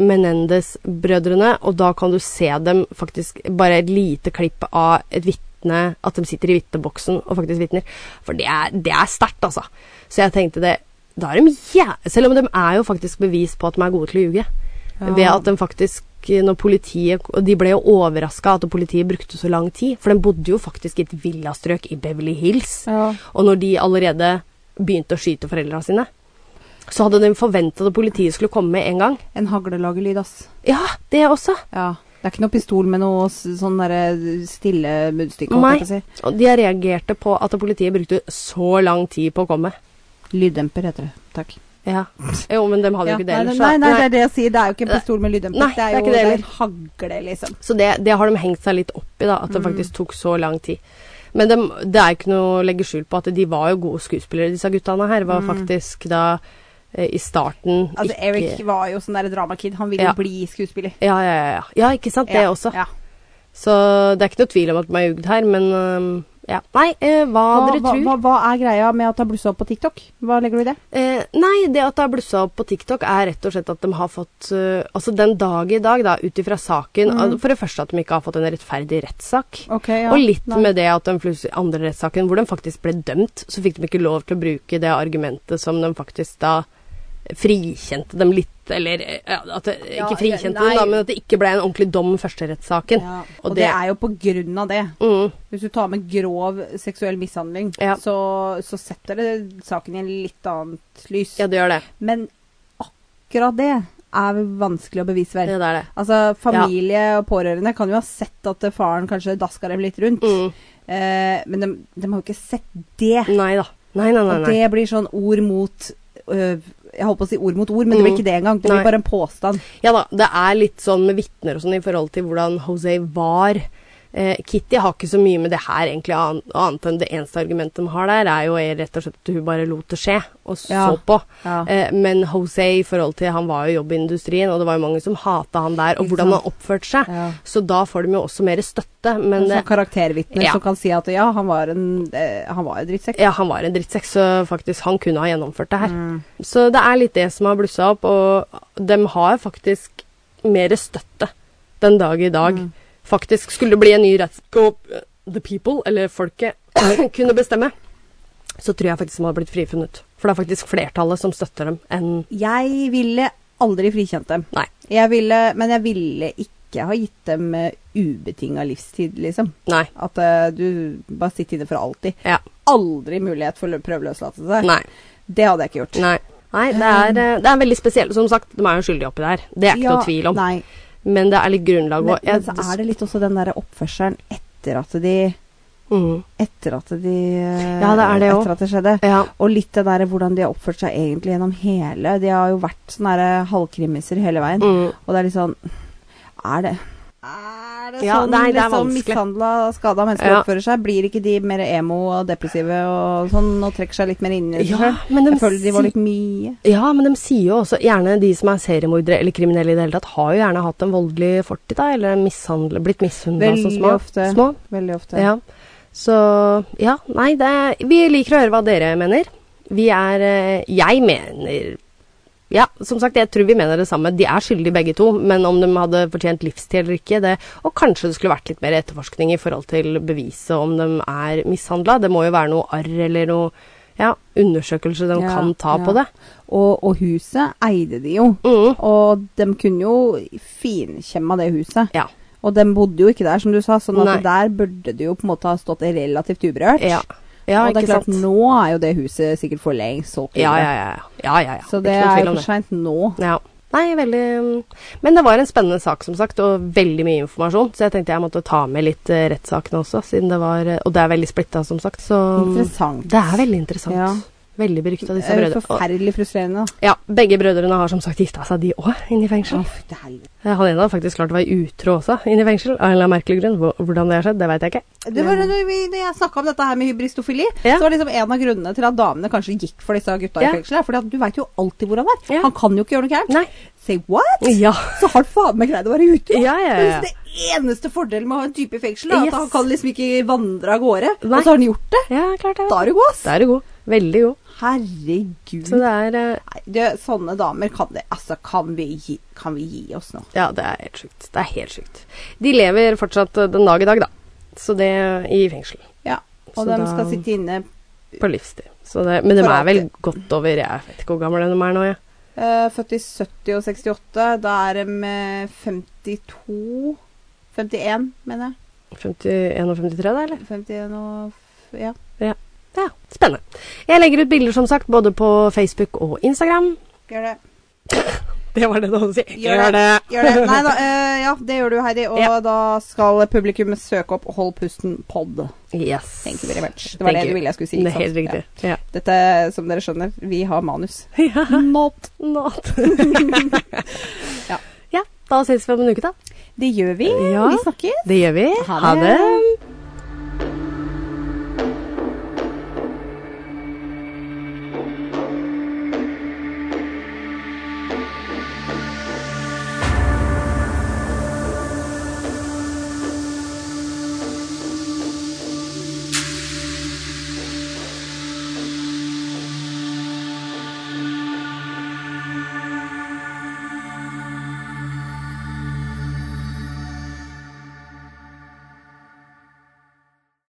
Menendez-brødrene, og da kan du se dem faktisk Bare et lite klipp av et vitne At de sitter i vitneboksen og faktisk vitner. For det er, det er sterkt, altså. Så jeg tenkte det Da er de jæ... Selv om de er jo faktisk bevis på at de er gode til å ljuge. Ja. Ved at de faktisk når politiet, og De ble jo overraska at politiet brukte så lang tid, for de bodde jo faktisk i et villastrøk i Beverly Hills. Ja. Og når de allerede begynte å skyte foreldra sine, så hadde de forventa at politiet skulle komme med en gang. En hagle lager lyd, ass. Ja, det også. Ja. Det er ikke noe pistol med noe s- sånn derre stille munnstykke, Nei. holdt jeg på å Og de reagerte på at politiet brukte så lang tid på å komme. si. Lyddemper heter det. Takk. Ja. Jo, men de hadde jo ikke det Ja. ellers. nei, da. nei, nei, det er det jeg sier. Det er jo ikke en pistol med lyddemper. Nei, det det er er jo ikke det det er en hagle, liksom. Så det, det har de hengt seg litt opp i, da, at det Mm. faktisk tok så lang tid. Men dem- det er ikke noe å legge skjul på at de var jo gode skuespillere, disse guttene her. Var faktisk da eh, i starten Mm. Altså, ikke Eric var jo sånn der dramakid. Han ville Ja. jo bli skuespiller. ja, ja, ja, ja. ja, ikke sant? Det Ja, også. Ja. Så det er ikke noe tvil om at de har jugd her, men øhm, ja. Nei, eh, hva, Hva, dere hva, tror? hva, hva er greia med at det har blussa opp på TikTok? Hva legger du i det? Eh, nei, det at det har blussa opp på TikTok, er rett og slett at de har fått eh, Altså den dag i dag, da, ut ifra saken Mm. at- For det første at de ikke har fått en rettferdig rettssak. Ok, og litt med det at de plutselig- andre rettssaken, hvor de faktisk ble dømt, så fikk de ikke lov til å bruke det argumentet som de faktisk da frikjente dem litt, eller eh, ja, at det, Ja, Ikke frikjente nei. dem, da, men at det ikke ble en ordentlig dom første rettssaken. ja. Og Og, det, det- er jo på grunn av det. Mm, Hvis du tar med grov seksuell mishandling, Ja. så, så setter det saken i en litt annet lys. ja, det gjør det. Men akkurat det er vel vanskelig å bevise Det vel. er det. Altså, familie og pårørende kan jo ha sett at eh, faren kanskje daska dem litt rundt, Mm. eh, men de, de har jo ikke sett det. Nei da. Nei, nei, nei. Og nei. det blir sånn ord mot øh, Jeg holdt på å si ord mot ord, men det blir ikke det engang. Det blir Mm. Nei. bare en påstand. Ja da, det er litt sånn med vitner og sånn i forhold til hvordan Jose var. Eh, Kitty har ikke så mye med det her egentlig an- annet enn det eneste argumentet de har der, er jo eh, rett og slett at hun bare lot det skje og så Ja, på. ja. Eh, men Jose i forhold til han var jo i jobbindustrien, og det var jo mange som hata han der, og hvordan han oppførte seg. Ja. Så da får de jo også mer støtte. Men Som det, karaktervitner Ja. som kan si at ja, han var en, eh, han var en drittsekk. ja, han var en drittsekk, så faktisk han kunne ha gjennomført det her. Mm. Så det er litt det som har blussa opp, og de har faktisk mer støtte den dag i Mm. dag. Faktisk skulle det bli en ny rettssak og eh, the people, eller folket, kunne bestemme, så tror jeg faktisk de hadde blitt frifunnet. For det er faktisk flertallet som støtter dem, enn Jeg ville aldri frikjent dem. Nei. Jeg ville, men jeg ville ikke ha gitt dem eh, ubetinga livstid, liksom. Nei. At eh, du bare sitter inne for alltid. Ja. Aldri mulighet for å prøveløslatelse. Nei. Det hadde jeg ikke gjort. Nei. Nei, det Mm. er, eh, det er veldig spesielt. Som sagt, de er jo skyldige oppi det her. Det er ikke noe tvil om. Nei. Men det er litt grunnlag Men, òg. men så er det litt også den derre oppførselen etter at de mm. Etter at de eh, Ja, det er det også. Etter at det skjedde. Ja. Og litt det der hvordan de har oppført seg egentlig gjennom hele De har jo vært sånne der halvkrimiser hele veien. Mm. Og det er litt sånn Er det Er det Ja, sånn nei, det er liksom vanskelig. mishandla, skada mennesker Ja. oppfører seg? Blir ikke de mer emo og depressive og sånn og trekker seg litt mer inn i seg Ja, selv? men de Jeg føler de var si- litt mye. Ja, men de sier jo også gjerne de som er seriemordere eller kriminelle i det hele tatt, har jo gjerne hatt en voldelig fortid, da, eller mishandlet- blitt mishandla som Veldig små. ofte. små. Veldig ofte. Ja. Så ja, nei, det Vi liker å høre hva dere mener. Vi er eh, Jeg mener ja, som sagt, jeg tror vi mener det samme. De er skyldige begge to, men om de hadde fortjent livstid eller ikke, det Og kanskje det skulle vært litt mer etterforskning i forhold til beviset om de er mishandla. Det må jo være noe arr eller noe ja, undersøkelse de Ja, kan ta ja. på det. Og, og huset eide de jo. Mm. Og de kunne jo finkjemma det huset. Ja. Og de bodde jo ikke der, som du sa, sånn at Nei. der burde det jo på en måte ha stått relativt uberørt. Ja, ja og det ikke er klart, sant? nå er jo det huset sikkert for lengst solgt. Ja, videre. ja, ja. ja, ja, ja. Så det ikke noe er tvil jo om for seint nå. Ja. Nei, veldig mm, Men det var en spennende sak, som sagt, og veldig mye informasjon. Så jeg tenkte jeg måtte ta med litt eh, rettssakene også, siden det var eh, Og det er veldig splitta, som sagt, så Interessant. Um, Det er veldig interessant. Ja. Veldig berykta, Det disse er jo brødrene. Og- forferdelig frustrerende. da. Ja, begge brødrene har som sagt gifta seg, de òg, inne i fengsel. Uff, det er- Eh, Han ene har faktisk klart å være utro også, inne i fengsel, av en eller annen merkelig grunn. Hvor- Hvordan det har skjedd, det veit jeg ikke. Det var, når vi- når jeg snakka om dette her med hybristofili, Ja. så var liksom en av grunnene til at damene kanskje gikk for disse gutta Ja. i fengselet. For du veit jo alltid hvor han er. Ja. Han kan jo ikke gjøre noe gærent. Nei. Say what? Ja. Så har han faen meg greid å være ute. Ja, ja, ja. Det er liksom det eneste fordelen med å ha en type i fengsel, er at Yes. han kan liksom ikke vandre av gårde. Nei. Og så har han gjort det. Ja, klart det. Da er du god, ass. Da er du god. Veldig god. Herregud. Så det er eh, Nei, det, sånne damer kan det Altså, kan vi gi, kan vi gi oss nå? Ja, det er helt sjukt. Det er helt sjukt. De lever fortsatt eh, den dag i dag, da. Så det i fengsel. Ja. Og Så de da- skal sitte inne På livstid. Så det, men de For er vel alltid. godt over Jeg vet ikke hvor gamle de er nå, jeg. Eh, født i 70 og 68. Da er de eh, 52 51, mener jeg. 51 og 53, da, eller? 51 og f- Ja. Ja. ja. Spennende. Jeg legger ut bilder, som sagt, både på Facebook og Instagram. Gjør det. Det var det du hadde å si. Gjør det. Nei da. eh, ja, det gjør du, Heidi. Og Ja. da skal publikum søke opp Hold pusten pod. Yes. Thank you very much. Det var Thank det du you. ville jeg skulle si. Det ikke er helt sant? riktig. Ja. Ja. Dette, som dere skjønner, vi har manus. Not. Not. Ja. ja. Da ses vi om en uke, da. Det gjør vi. Ja. Vi snakkes. Det gjør vi. Ha Ha det. det.